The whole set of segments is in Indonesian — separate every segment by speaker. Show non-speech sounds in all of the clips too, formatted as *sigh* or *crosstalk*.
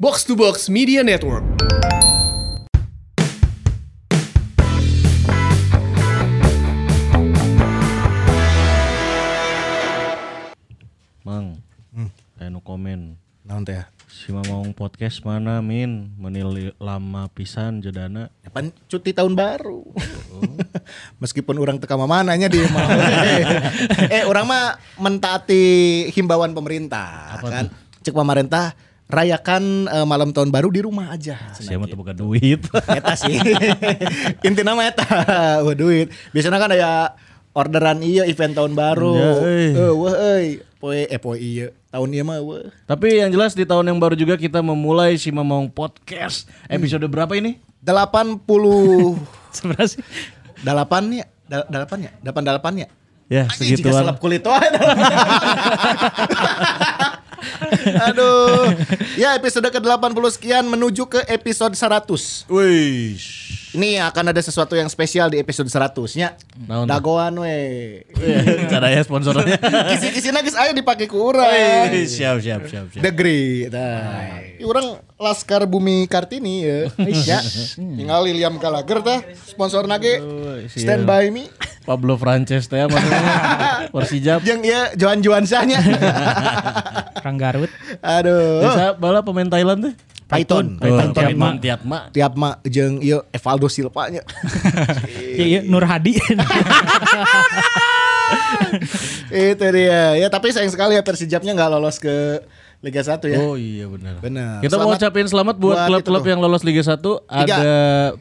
Speaker 1: Box to Box Media Network.
Speaker 2: Mang, anu komen.
Speaker 3: Naon teh?
Speaker 2: Si Mamang podcast mana min? Menil lama pisan jedana.
Speaker 3: Pan cuti tahun baru. *laughs* Meskipun orang teka mamananya di mah. eh orang mah mentaati himbauan pemerintah kan. Cek pemerintah rayakan eh, malam tahun baru di rumah aja.
Speaker 2: Siapa tuh buka duit. *laughs*
Speaker 3: Eta sih. Inti nama eta. Wah duit. Biasanya kan ada orderan iya event tahun baru.
Speaker 2: Ya, euy.
Speaker 3: Eh, wah euy. Poe eh poe iya. Tahun iya mah wah.
Speaker 2: Tapi yang jelas di tahun yang baru juga kita memulai si Mamang podcast. Episode berapa ini?
Speaker 3: 80 *laughs*
Speaker 2: Seberapa sih?
Speaker 3: delapan ya. Da- Delapan ya? Delapan delapan ya?
Speaker 2: Ya,
Speaker 3: Anjing, jika
Speaker 2: segituan.
Speaker 3: selap kulit wae. *laughs* Aduh. Ya episode ke-80 sekian menuju ke episode 100.
Speaker 2: Wih.
Speaker 3: Ini akan ada sesuatu yang spesial di episode 100 nya.
Speaker 2: Naon?
Speaker 3: Dagoan we.
Speaker 2: Caranya ya sponsornya.
Speaker 3: Kisi-kisi nagis aya dipake ku urang.
Speaker 2: Wih, siap, siap, siap, siap.
Speaker 3: Degree. Tah. Ieu Urang Laskar Bumi Kartini ya. ya. Tinggal William Gallagher tah sponsor nage.
Speaker 2: siap.
Speaker 3: Stand by me.
Speaker 2: Pablo Frances teh maksudnya. Persija.
Speaker 3: Jeung ieu ya, Johan
Speaker 2: *laughs*
Speaker 3: Johansahnya.
Speaker 4: Orang Garut.
Speaker 3: Aduh.
Speaker 2: Biasa bala pemain Thailand teh. Oh.
Speaker 3: Python.
Speaker 2: Python
Speaker 4: Tiap
Speaker 2: Tiatma.
Speaker 4: Ma.
Speaker 2: Tiatma.
Speaker 3: tiap ma jeung ieu Evaldo Silva
Speaker 2: *laughs*
Speaker 3: nya.
Speaker 4: Iya, iya, Nur *laughs* Hadi.
Speaker 3: Itu dia. Ya tapi sayang sekali ya Persijapnya nggak lolos ke Liga 1 ya.
Speaker 2: Oh iya benar.
Speaker 3: Benar.
Speaker 2: Kita mau
Speaker 3: Selamat
Speaker 2: ucapin selamat buat
Speaker 3: buat
Speaker 2: klub-klub
Speaker 3: itu tuh.
Speaker 2: yang lolos Liga 1. Ada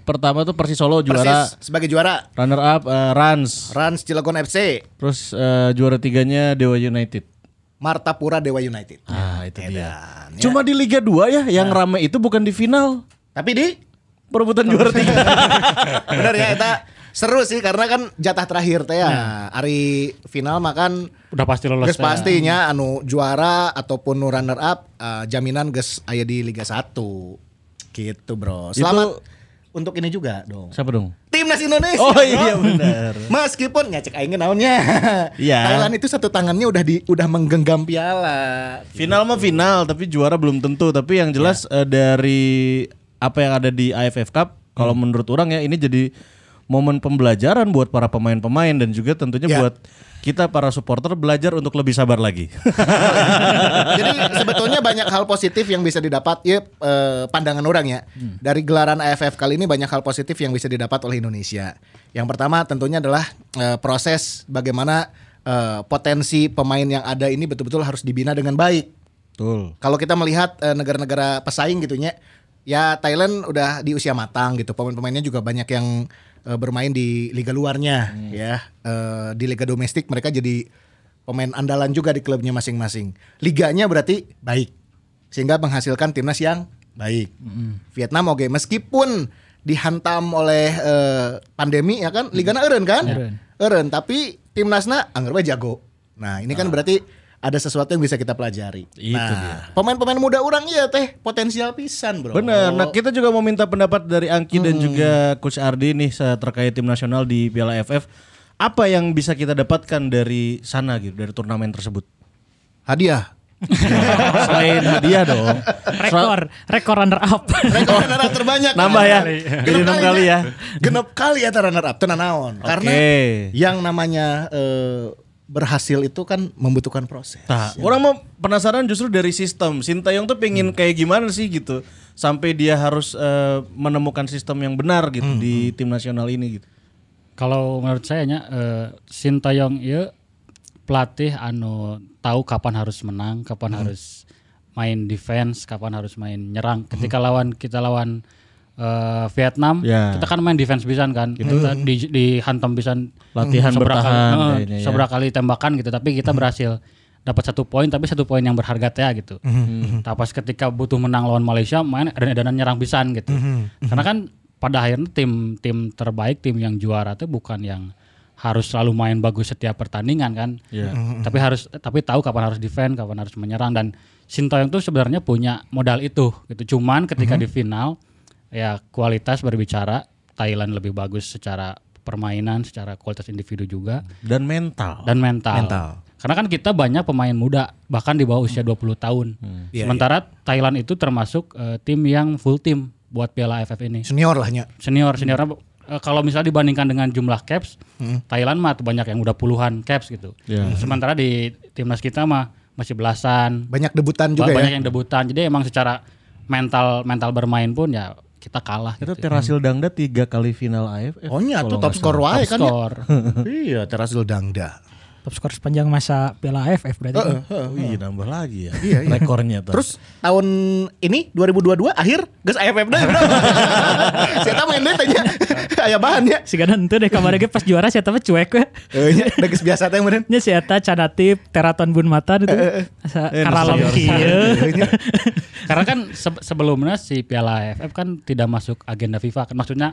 Speaker 2: pertama tuh Persis Solo juara,
Speaker 3: Persis sebagai juara
Speaker 2: runner up eh, Rans.
Speaker 3: Rans Cilegon FC,
Speaker 2: Terus eh, juara tiganya Dewa United.
Speaker 3: Martapura Dewa United.
Speaker 2: Ah, itu dia.
Speaker 3: Dan, ya. Nah.
Speaker 2: Cuma di Liga 2 ya yang rame itu bukan di final.
Speaker 3: Tapi di *laughs*
Speaker 2: Perebutan juara tiga.
Speaker 3: bener ya eta seru sih karena kan jatah terakhir teh
Speaker 2: Hmm.
Speaker 3: ya. Ari final makan
Speaker 4: Udah pasti
Speaker 2: ya.
Speaker 4: lolos.
Speaker 3: Ges pastinya anu juara ataupun runner up eh, jaminan ges aya di Liga 1. Gitu, Bro. Selamat untuk ini juga dong.
Speaker 2: Siapa dong?
Speaker 3: Timnas Indonesia.
Speaker 2: Oh iya
Speaker 3: Bro.
Speaker 2: benar.
Speaker 3: Meskipun ngecek aing naonnya.
Speaker 2: Iya.
Speaker 3: Thailand itu satu tangannya udah di udah menggenggam
Speaker 2: *laughs*
Speaker 3: piala.
Speaker 2: Final mah final, tapi juara belum tentu. Tapi yang jelas eh, dari apa yang ada di AFF Cup, kalau menurut orang ya ini jadi momen pembelajaran buat para pemain-pemain dan juga tentunya
Speaker 3: Ya.
Speaker 2: buat kita para supporter belajar untuk lebih sabar lagi.
Speaker 3: Jadi sebetulnya banyak hal positif yang bisa didapat ya eh, pandangan orang ya.
Speaker 2: Hmm.
Speaker 3: Dari gelaran AFF kali ini banyak hal positif yang bisa didapat oleh Indonesia. Yang pertama tentunya adalah eh, proses bagaimana eh, potensi pemain yang ada ini betul-betul harus dibina dengan baik.
Speaker 2: Betul.
Speaker 3: Kalau kita melihat eh, negara-negara pesaing gitu ya, ya Thailand udah di usia matang gitu. Pemain-pemainnya juga banyak yang eh, bermain di liga luarnya ya. Eh, di liga domestik mereka jadi pemain andalan juga di klubnya masing-masing. Liganya berarti baik. Sehingga menghasilkan timnas yang baik. Vietnam oke meskipun dihantam oleh eh, pandemi ya kan, ligana eureun kan? Eureun, tapi timnasna anggar we jago. Nah, ini kan berarti ada sesuatu yang bisa kita pelajari
Speaker 2: Itu
Speaker 3: nah, Pemain-pemain muda orang iya teh potensial pisan bro.
Speaker 2: Benar. Nah, kita juga mau minta pendapat dari Angki dan juga Coach Ardi nih se- terkait tim nasional di Piala AFF. Apa yang bisa kita dapatkan dari sana gitu, dari turnamen tersebut?
Speaker 3: Hadiah.
Speaker 2: Selain hadiah dong.
Speaker 4: Rekor, rekor runner up. *laughs*
Speaker 3: Rekor runner up terbanyak.
Speaker 2: Nambah ya.
Speaker 3: Genep
Speaker 2: Jadi enam kali ya.
Speaker 3: Genep kali ya teh runner up. Tenang naon. Karena
Speaker 2: Oke.
Speaker 3: yang namanya eh, berhasil itu kan membutuhkan proses.
Speaker 2: Nah, orang mau penasaran justru dari sistem. Sintayong tuh pengen kayak gimana sih gitu sampai dia harus eh, menemukan sistem yang benar gitu di tim nasional ini gitu.
Speaker 5: Kalau menurut saya nya eh, Sintayong ieu pelatih anu tahu kapan harus menang, kapan
Speaker 2: Hmm.
Speaker 5: harus main defense, kapan harus main
Speaker 2: Hmm.
Speaker 5: nyerang. Ketika lawan kita lawan eh, Vietnam,
Speaker 2: Ya.
Speaker 5: kita kan main defense pisan kan. Kita di dihantam pisan
Speaker 2: Latihan
Speaker 5: seberapa kali-
Speaker 2: bertahan
Speaker 5: eh,
Speaker 2: kayaknya ya.
Speaker 5: seberapa kali tembakan gitu, tapi kita berhasil dapat satu poin tapi satu poin yang berharga teh gitu. Tapi pas ketika butuh menang lawan Malaysia main edan-edanan nyerang pisan gitu. Karena kan pada akhirnya tim tim terbaik tim yang juara tuh bukan yang harus selalu main bagus setiap pertandingan kan.
Speaker 2: Iya.
Speaker 5: Tapi harus tapi tahu kapan harus defend, kapan harus menyerang dan Sintayong tuh sebenarnya punya modal itu gitu. Cuman ketika di final ya kualitas berbicara Thailand lebih bagus secara permainan, secara kualitas individu juga
Speaker 2: Dan mental.
Speaker 5: dan mental.
Speaker 3: Mental.
Speaker 5: Karena kan kita banyak pemain muda bahkan di bawah usia 20 tahun.
Speaker 3: Iya,
Speaker 5: Sementara Thailand itu termasuk eh, tim yang full tim buat Piala AFF ini.
Speaker 3: Senior lah nya.
Speaker 5: Senior seniornya eh, kalau misalnya dibandingkan dengan jumlah caps, Thailand mah tuh banyak yang udah puluhan caps gitu.
Speaker 2: Iya.
Speaker 5: Sementara di timnas kita mah masih belasan,
Speaker 3: Banyak debutan
Speaker 5: Ba-
Speaker 3: juga
Speaker 5: banyak
Speaker 3: ya.
Speaker 5: yang debutan jadi emang secara mental mental bermain pun ya kita kalah
Speaker 2: Kita
Speaker 5: gitu
Speaker 2: Terasil Dangda tiga kali final AFF.
Speaker 3: Oh nya
Speaker 2: Eh, kalau
Speaker 3: tuh top
Speaker 2: nggak
Speaker 3: skor
Speaker 5: top
Speaker 3: wae kan. ya.
Speaker 5: score
Speaker 3: *laughs* Iya, Terasil Dangda.
Speaker 4: Top skor sepanjang masa Piala AFF berarti. kan?
Speaker 2: salah. Wih nambah lagi ya
Speaker 3: Iya, iya.
Speaker 2: rekornya. Tan.
Speaker 3: Terus tahun ini 2022 akhir geus AFF dah. *laughs* Saya main deui tanya. *laughs* Aya bahan ya.
Speaker 4: Si Ganan itu deh kabarnya ge pas juara saya tapi cuek we.
Speaker 3: Eh nya *laughs* da geus biasa teh meureun.
Speaker 4: Nya si Eta Canatip, Teraton Bun Matan itu. Asa
Speaker 2: Eh,
Speaker 4: Karalom
Speaker 2: senior.
Speaker 4: *laughs* kieu.
Speaker 5: karena kan se- sebelumnya si Piala AFF kan tidak masuk agenda FIFA kan maksudnya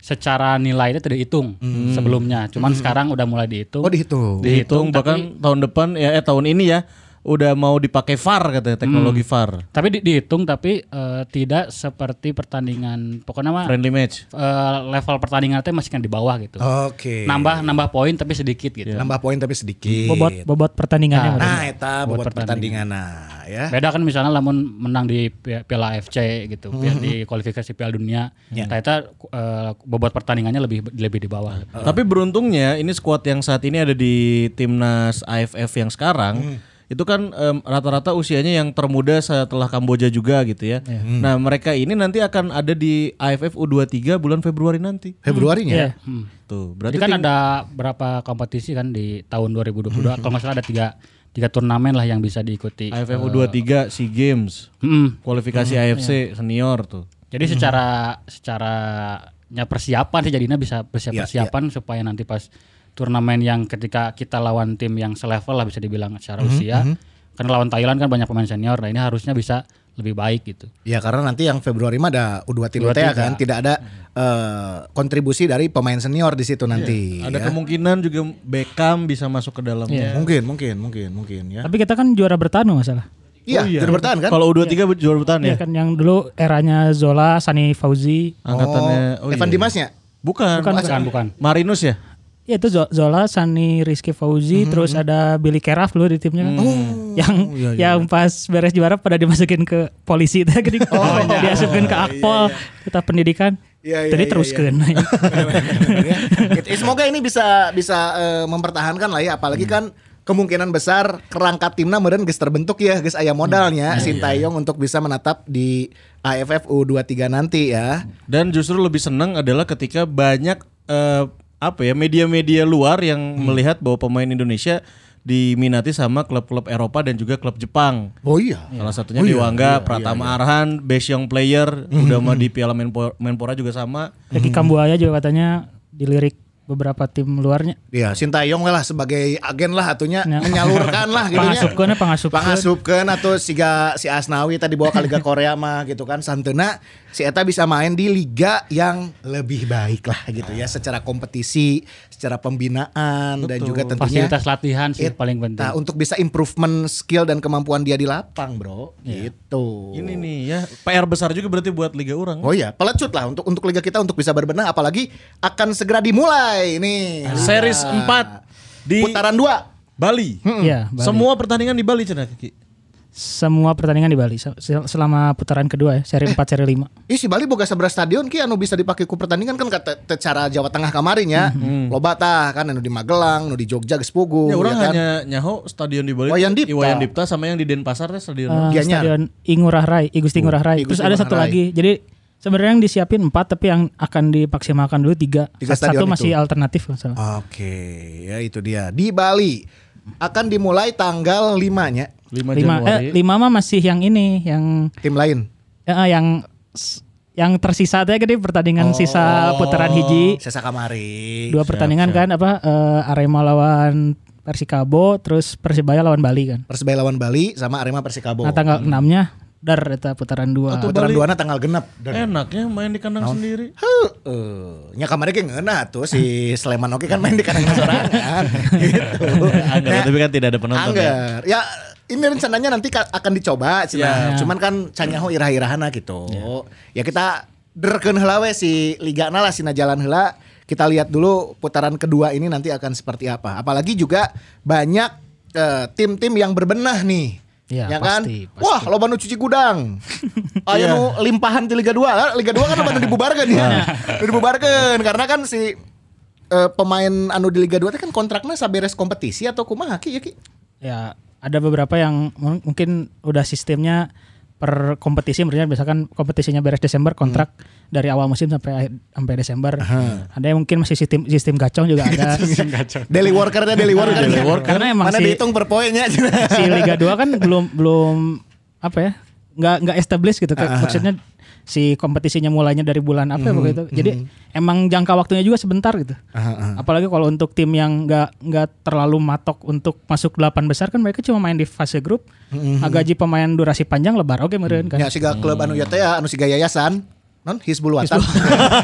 Speaker 5: secara nilai itu tidak dihitung sebelumnya cuman sekarang udah mulai dihitung
Speaker 3: Hmm. Oh dihitung.
Speaker 2: dihitung bahkan tahun depan ya eh tahun ini ya udah mau dipakai VAR katanya teknologi VAR
Speaker 5: tapi di- dihitung tapi eh, tidak seperti pertandingan pokoknya mah
Speaker 2: friendly match.
Speaker 5: eh, level pertandingan itu masih kan di bawah gitu
Speaker 3: Oke. Iya.
Speaker 5: nambah nambah poin tapi sedikit gitu
Speaker 3: Nambah poin tapi sedikit.
Speaker 4: Bobot bobot pertandingannya berarti.
Speaker 3: Nah, eta
Speaker 5: Buat
Speaker 3: bobot pertandingan nah ya.
Speaker 5: Beda kan misalnya lamun menang di Pi- Piala AFC gitu,
Speaker 3: Hmm.
Speaker 5: pi- di kualifikasi Piala Dunia,
Speaker 3: Iya.
Speaker 5: ternyata eh, bobot pertandingannya lebih lebih di bawah.
Speaker 2: Uh. Tapi beruntungnya ini skuad yang saat ini ada di timnas AFF yang sekarang itu kan em, rata-rata usianya yang termuda setelah Kamboja juga gitu ya.
Speaker 4: Iya.
Speaker 2: Nah, mereka ini nanti akan ada di AFF U23 bulan Februari nanti. Hmm,
Speaker 3: Februari
Speaker 2: iya.
Speaker 3: nya.
Speaker 2: Tuh,
Speaker 5: Jadi
Speaker 2: berarti
Speaker 5: kan
Speaker 2: ting-
Speaker 5: ada berapa kompetisi kan di tahun
Speaker 2: Hmm.
Speaker 5: 2022 kalau nggak salah ada tiga tiga turnamen lah yang bisa diikuti.
Speaker 2: AFF
Speaker 4: Uh.
Speaker 2: U23 SEA Games,
Speaker 5: Mm.
Speaker 2: kualifikasi
Speaker 4: Hmm.
Speaker 2: AFC
Speaker 4: Iya.
Speaker 2: senior tuh.
Speaker 5: Jadi secara secara ya persiapan sih jadinya bisa persiap
Speaker 2: Ya,
Speaker 5: persiapan supaya nanti pas turnamen yang ketika kita lawan tim yang selevel lah bisa dibilang secara
Speaker 2: Hmm,
Speaker 5: usia. Karena lawan Thailand kan banyak pemain senior, nah ini harusnya bisa lebih baik gitu.
Speaker 3: Ya karena nanti yang Februari mah ada U23
Speaker 5: U23.
Speaker 2: ya.
Speaker 3: kan, tidak ada eh, kontribusi dari pemain senior di situ nanti.
Speaker 2: Iya, Ada
Speaker 3: ya.
Speaker 2: kemungkinan juga Beckham bisa masuk ke
Speaker 4: Iya.
Speaker 2: dalamnya.
Speaker 3: Mungkin, mungkin, mungkin, mungkin ya.
Speaker 4: Tapi kita kan juara bertahan nggak masalah.
Speaker 3: Iya, juara bertahan kan?
Speaker 2: Oh, Kalau U23 juara bertahan ya.
Speaker 4: Iya kan yang dulu eranya Zola, Sani Fauzi.
Speaker 2: Angkatannya oh
Speaker 3: oh, Evan
Speaker 2: iya.
Speaker 3: Dimasnya?
Speaker 2: Bukan.
Speaker 4: Bukan,
Speaker 5: Bukan bukan.
Speaker 2: Marinus ya?
Speaker 4: Ya itu Zo- Zola, Sani Rizky Fauzi,
Speaker 3: Mhm.
Speaker 4: terus ada Billy Keraf dulu di timnya kan. yang
Speaker 3: Oh, iya,
Speaker 4: yang pas beres juara pada dimasukin ke polisi *laughs* itu gini.
Speaker 3: Oh,
Speaker 4: *laughs* diasupkan ke Akpol, kita pendidikan.
Speaker 3: Iya, iya,
Speaker 4: Jadi
Speaker 3: iya,
Speaker 4: teruskeun.
Speaker 3: Gitu. Semoga ini bisa bisa eh, mempertahankan lah ya, apalagi kan kemungkinan besar kerangka timna meureun geus terbentuk ya, geus aya modalnya Sintayong untuk bisa menatap di AFF U23 nanti ya.
Speaker 2: Dan justru lebih senang adalah ketika banyak eh, apa ya media-media luar yang
Speaker 3: Hmm.
Speaker 2: melihat bahwa pemain Indonesia diminati sama klub-klub Eropa dan juga klub Jepang.
Speaker 3: Oh iya.
Speaker 2: Salah satunya Dewangga, Pratama Arhan, best young player,
Speaker 3: Hmm.
Speaker 2: udah mah di Piala Menpo- Menpora juga sama.
Speaker 4: *laughs*
Speaker 3: Mhm.
Speaker 4: Ricky Kambuaya juga katanya dilirik beberapa tim luarnya.
Speaker 3: Ya, Sintayong lah sebagai agen lah atunya
Speaker 5: Nah.
Speaker 4: Ya.
Speaker 3: menyalurkan lah gitu nya.
Speaker 4: Pangasupkeun, pangasupkeun.
Speaker 3: Pangasupkeun atau siga si Asnawi tadi bawa ke Liga Korea mah gitu kan santeuna si eta bisa main di liga yang lebih baik lah gitu ya secara kompetisi, secara pembinaan dan juga tentunya
Speaker 5: Fasilitas latihan sih
Speaker 3: it-
Speaker 5: paling penting.
Speaker 3: nah, untuk bisa improvement skill dan kemampuan dia di lapang, Bro.
Speaker 5: Iya.
Speaker 3: Gitu.
Speaker 2: Ini nih ya PR besar juga berarti buat liga orang.
Speaker 3: Oh iya, pelecut lah untuk untuk liga kita untuk bisa berbenah apalagi akan segera dimulai nih. Nah,
Speaker 2: Series 4 di
Speaker 3: putaran 2.
Speaker 2: Bali.
Speaker 3: Hmm, Mhm.
Speaker 4: Iya, Bali.
Speaker 2: Semua pertandingan di Bali cenah Kiki.
Speaker 4: Semua pertandingan di Bali se- se- selama putaran kedua ya, seri 4, seri 5.
Speaker 3: Ih si Bali boga sabra stadion ki anu bisa dipakai ku pertandingan kan kata te- cara Jawa Tengah kemarin ya. Loba tah kan anu di Magelang, anu di Jogja geus pugu
Speaker 2: Mhm. Hmm. Ya orang
Speaker 3: ya kan.
Speaker 2: hanya nyaho stadion di Bali.
Speaker 3: Wayan Dipta.
Speaker 2: Wayan Dipta sama yang di Denpasar teh stadion.
Speaker 4: Eh,
Speaker 3: Gianyar.
Speaker 4: Stadion Ingurah Rai, I Gusti Ngurah Rai.
Speaker 3: Gusti
Speaker 4: Terus ada
Speaker 3: Ngurah
Speaker 4: satu
Speaker 3: Rai.
Speaker 4: lagi. Jadi sebenarnya yang disiapin empat, tapi yang akan dimaksimalkan dulu tiga.
Speaker 3: Tiga
Speaker 4: satu
Speaker 3: stadion itu.
Speaker 4: masih
Speaker 3: Ah,
Speaker 4: alternatif nggak salah.
Speaker 3: Oke, ya itu dia. Di Bali akan dimulai tanggal 5-nya
Speaker 2: 5
Speaker 4: Lima,
Speaker 2: Januari.
Speaker 4: eh, lima mah masih yang ini, yang
Speaker 3: tim lain.
Speaker 4: eh, yang s- yang tersisa teh gede
Speaker 3: Oh,
Speaker 4: pertandingan sisa putaran hiji.
Speaker 3: Sesa kamari.
Speaker 4: Dua pertandingan kan apa eh, Arema lawan Persikabo, terus Persibaya lawan Bali kan.
Speaker 3: Persebaya lawan Bali sama Arema Persikabo.
Speaker 4: Nah tanggal enamnya dar eta putaran dua.
Speaker 3: putaran 2 tanggal genep. Dan
Speaker 2: Enaknya main di kandang sendiri.
Speaker 3: *laughs* Heeh. Nya kemarin kayak ngeunah tuh si Sleman Oki kan main di kandang
Speaker 2: *laughs*
Speaker 3: sorangan gitu.
Speaker 2: Anggar,
Speaker 3: Nah,
Speaker 2: tapi kan tidak ada penonton. ya.
Speaker 3: Angger. Ya ini rencananya nanti ka- akan dicoba sih. Cuman kan canyaho irah-irahana gitu. Ya kita derkeun heula we si ligana lah sina jalan heula. Kita lihat dulu putaran kedua ini nanti akan seperti apa. Apalagi juga banyak eh, tim-tim yang berbenah nih.
Speaker 5: Iya,
Speaker 3: ya kan?
Speaker 5: pasti, pasti.
Speaker 3: Wah, loba nu cuci gudang. Ayo nu limpahan di Liga 2. Liga 2 kan loba nu dibubarkan ya. Nu dibubarkan karena kan si eh, pemain anu di Liga 2 teh kan kontraknya saberes kompetisi atau kumaha ki ya ki?
Speaker 4: Ya, ada beberapa yang mung- mungkin udah sistemnya per kompetisi misalnya misalkan kompetisinya beres Desember kontrak dari awal musim sampai akhir- sampai Desember. Ada yang mungkin masih sistem sistem gacong juga ada.
Speaker 3: Daily workernya daily worker.
Speaker 4: Daily worker. Karena emang
Speaker 3: mana
Speaker 4: si-
Speaker 3: dihitung per poinnya.
Speaker 4: si Liga 2 kan belum belum apa ya? nggak nggak established gitu. Kayak Maksudnya si kompetisinya mulainya dari bulan apa ya begitu. Jadi emang jangka waktunya juga sebentar gitu. Apalagi kalau untuk tim yang nggak nggak terlalu matok untuk masuk delapan besar kan mereka cuma main di fase grup. Nah, gaji pemain durasi panjang lebar oke meren kan.
Speaker 3: *laughs* Ya siga klub anu ya teh ya, anu siga yayasan. Non Hizbul Watan.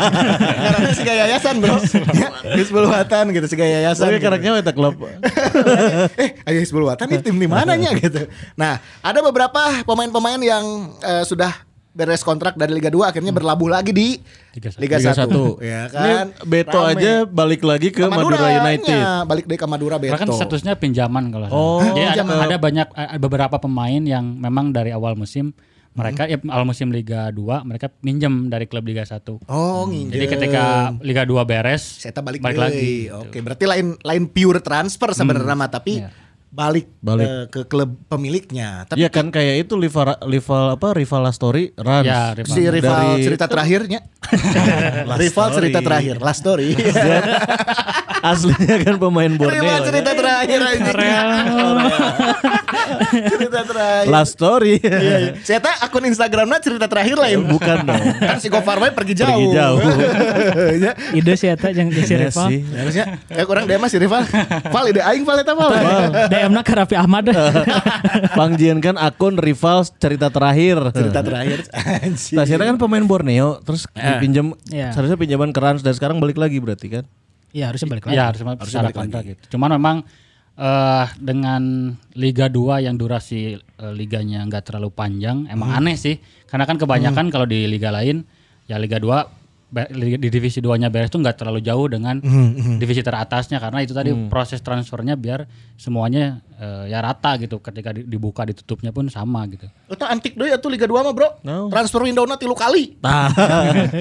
Speaker 3: *laughs* Karena siga yayasan, Bro. Ya, Hizbul Watan gitu siga yayasan.
Speaker 2: Tapi kan
Speaker 3: gitu.
Speaker 2: karaknya kita klub.
Speaker 3: *laughs* eh ayo Hizbul Watan nih tim di mananya gitu. Nah, ada beberapa pemain-pemain yang eh, sudah beres kontrak dari Liga 2 akhirnya berlabuh lagi di
Speaker 5: Liga satu.
Speaker 3: Liga,
Speaker 2: Liga
Speaker 3: 1.
Speaker 2: satu.
Speaker 3: Ya
Speaker 2: Ini
Speaker 3: kan?
Speaker 2: Beto
Speaker 3: Rame.
Speaker 2: aja balik lagi ke
Speaker 3: Ke
Speaker 2: Madura
Speaker 3: Maduranya,
Speaker 2: United.
Speaker 3: Balik dari ke Madura Beto.
Speaker 5: Karena kan statusnya pinjaman kalau salah.
Speaker 2: Oh,
Speaker 5: Jadi ada,
Speaker 2: pinjaman.
Speaker 5: ada banyak eh, ada beberapa pemain yang memang dari awal musim
Speaker 2: Hmm.
Speaker 5: mereka ya, awal musim Liga 2 mereka minjem dari klub Liga 1.
Speaker 3: Oh, nginjem.
Speaker 5: Jadi
Speaker 2: Iya.
Speaker 5: ketika Liga 2 beres,
Speaker 3: Seta balik,
Speaker 5: balik
Speaker 3: deui.
Speaker 5: lagi.
Speaker 3: Oke, berarti lain lain pure transfer sebenarnya mah, tapi
Speaker 5: Iya.
Speaker 3: balik,
Speaker 2: Balik.
Speaker 3: eh, ke klub pemiliknya. Tapi
Speaker 2: Iya kan kayak itu rival rival apa rival story Rans. *laughs*
Speaker 5: Ya, Rival-
Speaker 3: si rival
Speaker 2: Dari-
Speaker 3: cerita terakhirnya.
Speaker 2: Last
Speaker 3: rival
Speaker 2: story.
Speaker 3: cerita terakhir, last story.
Speaker 2: *laughs* Aslinya kan pemain Borneo.
Speaker 3: rival
Speaker 2: ya.
Speaker 3: cerita terakhir anjing. *laughs* cerita terakhir.
Speaker 2: Last story. *laughs*
Speaker 3: Iya, iya. Saya tahu akun Instagramnya cerita terakhir lain.
Speaker 2: Bukan dong.
Speaker 3: Kan si Gofar Wai pergi jauh.
Speaker 2: Pergi jauh.
Speaker 3: ya.
Speaker 4: Ide sih eta jeung jeung si
Speaker 2: Iya
Speaker 4: Rival. *laughs*
Speaker 2: sih.
Speaker 3: *laughs*
Speaker 2: *laughs*
Speaker 3: Harusnya kayak kurang dia masih rival. Val ide aing Val eta Val.
Speaker 4: DM-na ke Raffi Ahmad.
Speaker 2: Pangjien kan akun rival cerita terakhir.
Speaker 3: Cerita terakhir. Anjing.
Speaker 2: Tasira kan pemain Borneo terus dipinjam
Speaker 4: Iya.
Speaker 2: seharusnya pinjaman ke Rans dan sekarang balik lagi berarti kan.
Speaker 4: Iya harusnya balik lagi.
Speaker 5: Ya harus secara kontrak gitu. Cuman memang eh dengan Liga 2 yang durasi eh, liganya nggak terlalu panjang, emang
Speaker 4: Hmm.
Speaker 5: aneh sih. Karena kan kebanyakan kalau di liga lain ya Liga 2 be- liga- di divisi 2-nya beres tuh nggak terlalu jauh dengan
Speaker 4: Hmm,
Speaker 5: divisi teratasnya karena itu tadi proses transfernya biar semuanya eh, ya rata gitu. Ketika di- dibuka ditutupnya pun sama gitu.
Speaker 3: Eta antik deui atuh Liga 2 mah, Bro.
Speaker 2: No.
Speaker 3: Transfer window-na tilu
Speaker 2: *laughs*
Speaker 3: kali.
Speaker 2: Nah.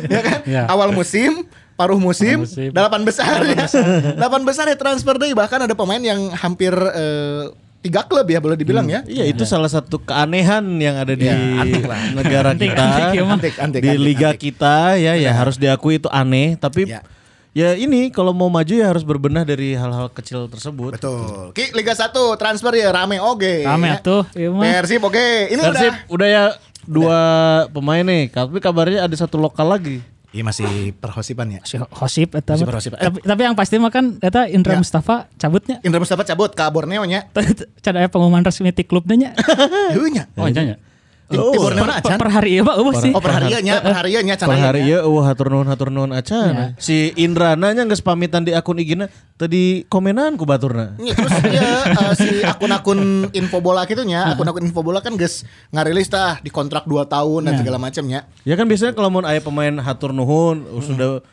Speaker 3: ya kan?
Speaker 5: Iya.
Speaker 3: Awal musim, paruh musim,
Speaker 5: Paruh musim.
Speaker 3: delapan besar. ya. *laughs* Delapan besar ya transfer deui bahkan ada pemain yang hampir eh, tiga klub ya boleh dibilang ya.
Speaker 2: Iya itu salah satu keanehan yang ada di
Speaker 3: Iya, antik lah.
Speaker 2: negara kita,
Speaker 4: antik ya, Mang.
Speaker 3: Antik, antik,
Speaker 2: di
Speaker 3: antik,
Speaker 2: liga
Speaker 3: antik.
Speaker 2: kita ya ya harus diakui itu aneh. Tapi
Speaker 3: Ya.
Speaker 2: ya, ini kalau mau maju ya harus berbenah dari hal-hal kecil tersebut.
Speaker 3: Betul. Ki Liga 1 transfer ya rame oge.
Speaker 4: Rame atuh, ieu mah.
Speaker 3: Persib oge. Ini
Speaker 2: Persib
Speaker 3: udah
Speaker 2: udah, ya dua pemain nih, tapi kabarnya ada satu lokal lagi.
Speaker 3: Iya masih perhosipan ya.
Speaker 4: Si Hosip eta.
Speaker 3: Si
Speaker 4: mah.
Speaker 3: Hosip.
Speaker 4: Tapi, tapi yang pasti mah kan eta Indra
Speaker 3: Ya.
Speaker 4: Mustafa cabutnya.
Speaker 3: Indra Mustafa cabut ke Borneo nya.
Speaker 4: *laughs* Can aya pengumuman resmi ti klubnya nya.
Speaker 3: Heuh nya.
Speaker 4: Ya,
Speaker 5: Oh, iya, iya.
Speaker 3: Di di Borneo na
Speaker 4: per,
Speaker 3: acan.
Speaker 4: per hari ya Pak, eueuh sih.
Speaker 3: Oh per hari nya, per hari nya
Speaker 2: Per hari ya, wah hatur nuhun hatur nuhun
Speaker 3: Iya.
Speaker 2: acan. Si Indra nanya nggak pamitan di akun IG-na tadi komenan ku baturna.
Speaker 3: Ya, terus ya eh, si akun-akun info bola gitu nya, akun-akun info bola kan geus ngarilis tah di kontrak 2 tahun
Speaker 2: Iya.
Speaker 3: dan segala macamnya.
Speaker 2: Ya kan biasanya kalau mau aya pemain hatur nuhun sudah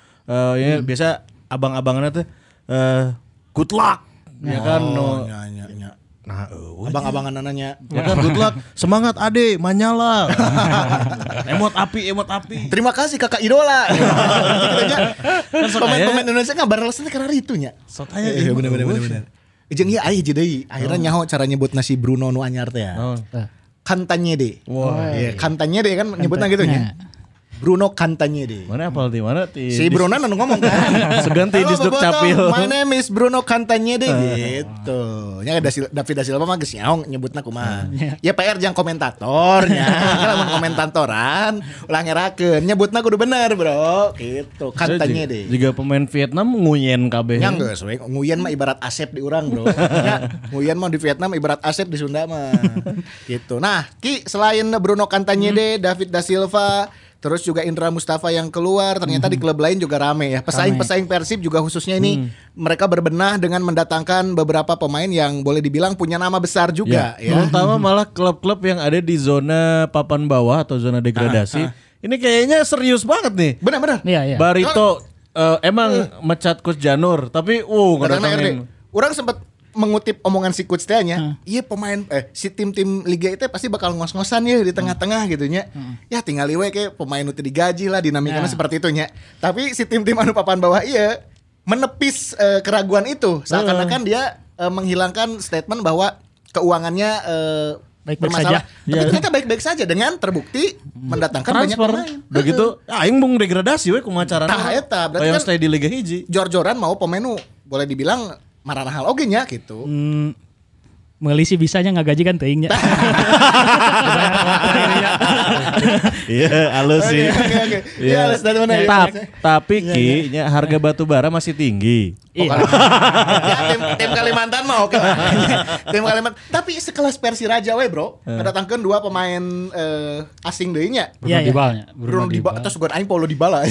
Speaker 2: eh, ya biasa abang-abangannya tuh eh, good luck. Ya kan no.
Speaker 3: Nya nya nya. Nah,
Speaker 2: eh,
Speaker 3: abang-abangan nanya
Speaker 2: Ya kan good luck, semangat Ade, manyala. emot api, emot api.
Speaker 3: Terima kasih kakak idola. *laughs* Gitu nya.
Speaker 2: sok
Speaker 3: Pemain-pemain Indonesia kan barelesna karena itu nya.
Speaker 2: Sok aya ieu
Speaker 3: Iya bener
Speaker 2: mah,
Speaker 3: bener
Speaker 2: eueuh.
Speaker 3: bener. bener. Jeung ieu aya jadi akhirnya
Speaker 2: Oh.
Speaker 3: nyaho cara nyebut nasi Bruno nu anyar teh ya.
Speaker 2: Naon?
Speaker 3: Kantanye deh.
Speaker 2: Oh. Wah.
Speaker 3: Iya, kantanye deh kan nyebutnya gitu nya. Bruno Kantanye deh.
Speaker 2: Mana apal di mana ti?
Speaker 3: Si
Speaker 2: di-
Speaker 3: Bruno nanu ngomong kan.
Speaker 2: Segan ti
Speaker 3: Halo,
Speaker 2: Disduk
Speaker 3: Bobotoh,
Speaker 2: Capil.
Speaker 3: My name is Bruno Kantanye deh gitu. Nya da Sil- David da Silva mah geus nyaong nyebutna kumaha. Ya PR jang komentatornya. Kalau mau komentatoran ulah ngerakeun nyebutna kudu bener, Bro. Gitu.
Speaker 2: Saya
Speaker 3: Kantanye
Speaker 2: juga-
Speaker 3: deh.
Speaker 2: Juga pemain Vietnam nguyen kabeh.
Speaker 3: Nya geus we Iya, nguyen mah ibarat asep di urang, Bro. Nya nguyen mah di Vietnam ibarat asep di Sunda mah. gitu. Nah, Ki selain Bruno Kantanye deh, David da Silva, terus juga Indra Mustafa yang keluar, ternyata di klub lain juga rame ya. Pesaing-pesaing Persib juga khususnya ini mereka berbenah dengan mendatangkan beberapa pemain yang boleh dibilang punya nama besar juga ya.
Speaker 2: Terutama malah klub-klub yang ada di zona papan bawah atau zona degradasi.
Speaker 3: Ah,
Speaker 2: Ini kayaknya serius banget nih.
Speaker 3: Benar-benar.
Speaker 4: Iya, iya.
Speaker 3: Eh.
Speaker 2: Barito eh, emang mecat Kus Janur, tapi uh
Speaker 3: Datangnya RD.
Speaker 2: ngedatengin
Speaker 3: Orang sempat mengutip omongan si coach teh
Speaker 4: Hmm.
Speaker 3: nya, iya pemain eh si tim-tim liga itu pasti bakal ngos-ngosan ya di tengah-tengah
Speaker 4: Hmm.
Speaker 3: gitu nya. Ya tinggal iwe kayak pemain itu digaji lah dinamikanya
Speaker 5: Ya.
Speaker 3: seperti itu nya. Tapi si tim-tim anu papan bawah iya menepis eh, keraguan itu seakan-akan dia eh, menghilangkan statement bahwa keuangannya eh,
Speaker 4: Baik-baik
Speaker 3: bermasalah.
Speaker 4: saja. Ya.
Speaker 3: Tapi
Speaker 4: Hmm.
Speaker 2: Iya.
Speaker 3: ternyata baik-baik saja dengan terbukti mendatangkan Kan banyak
Speaker 4: Transfer.
Speaker 3: pemain. Eh.
Speaker 2: Udah gitu, aing mung degradasi we kumacarana.
Speaker 3: Tah, eta, berarti
Speaker 2: Hoyong
Speaker 3: kan-
Speaker 2: stay di Liga
Speaker 3: *laughs*
Speaker 2: Hiji.
Speaker 3: Jor-joran mau pemain nu boleh dibilang marana hal oge nya gitu.
Speaker 4: Hmm, meuli sih bisanya nggak gaji kan teingnya.
Speaker 2: Iya, halus
Speaker 3: Oke,
Speaker 2: sih.
Speaker 3: oke, oke. Iya,
Speaker 2: Iya.
Speaker 3: halus dari mana ya?
Speaker 2: Tap- Tapi Ki, nya harga batu bara masih tinggi.
Speaker 4: *laughs* Iya.
Speaker 3: ya, tim, tim Kalimantan mah oke lah. tim Kalimantan. Tapi sekelas Persiraja we, Bro. Kedatangkan dua pemain eh, asing deui nya.
Speaker 5: Bruno
Speaker 4: Iya, iya.
Speaker 5: Dybala-nya.
Speaker 3: Bruno Dybala terus gue aing Paulo *laughs* Dybala.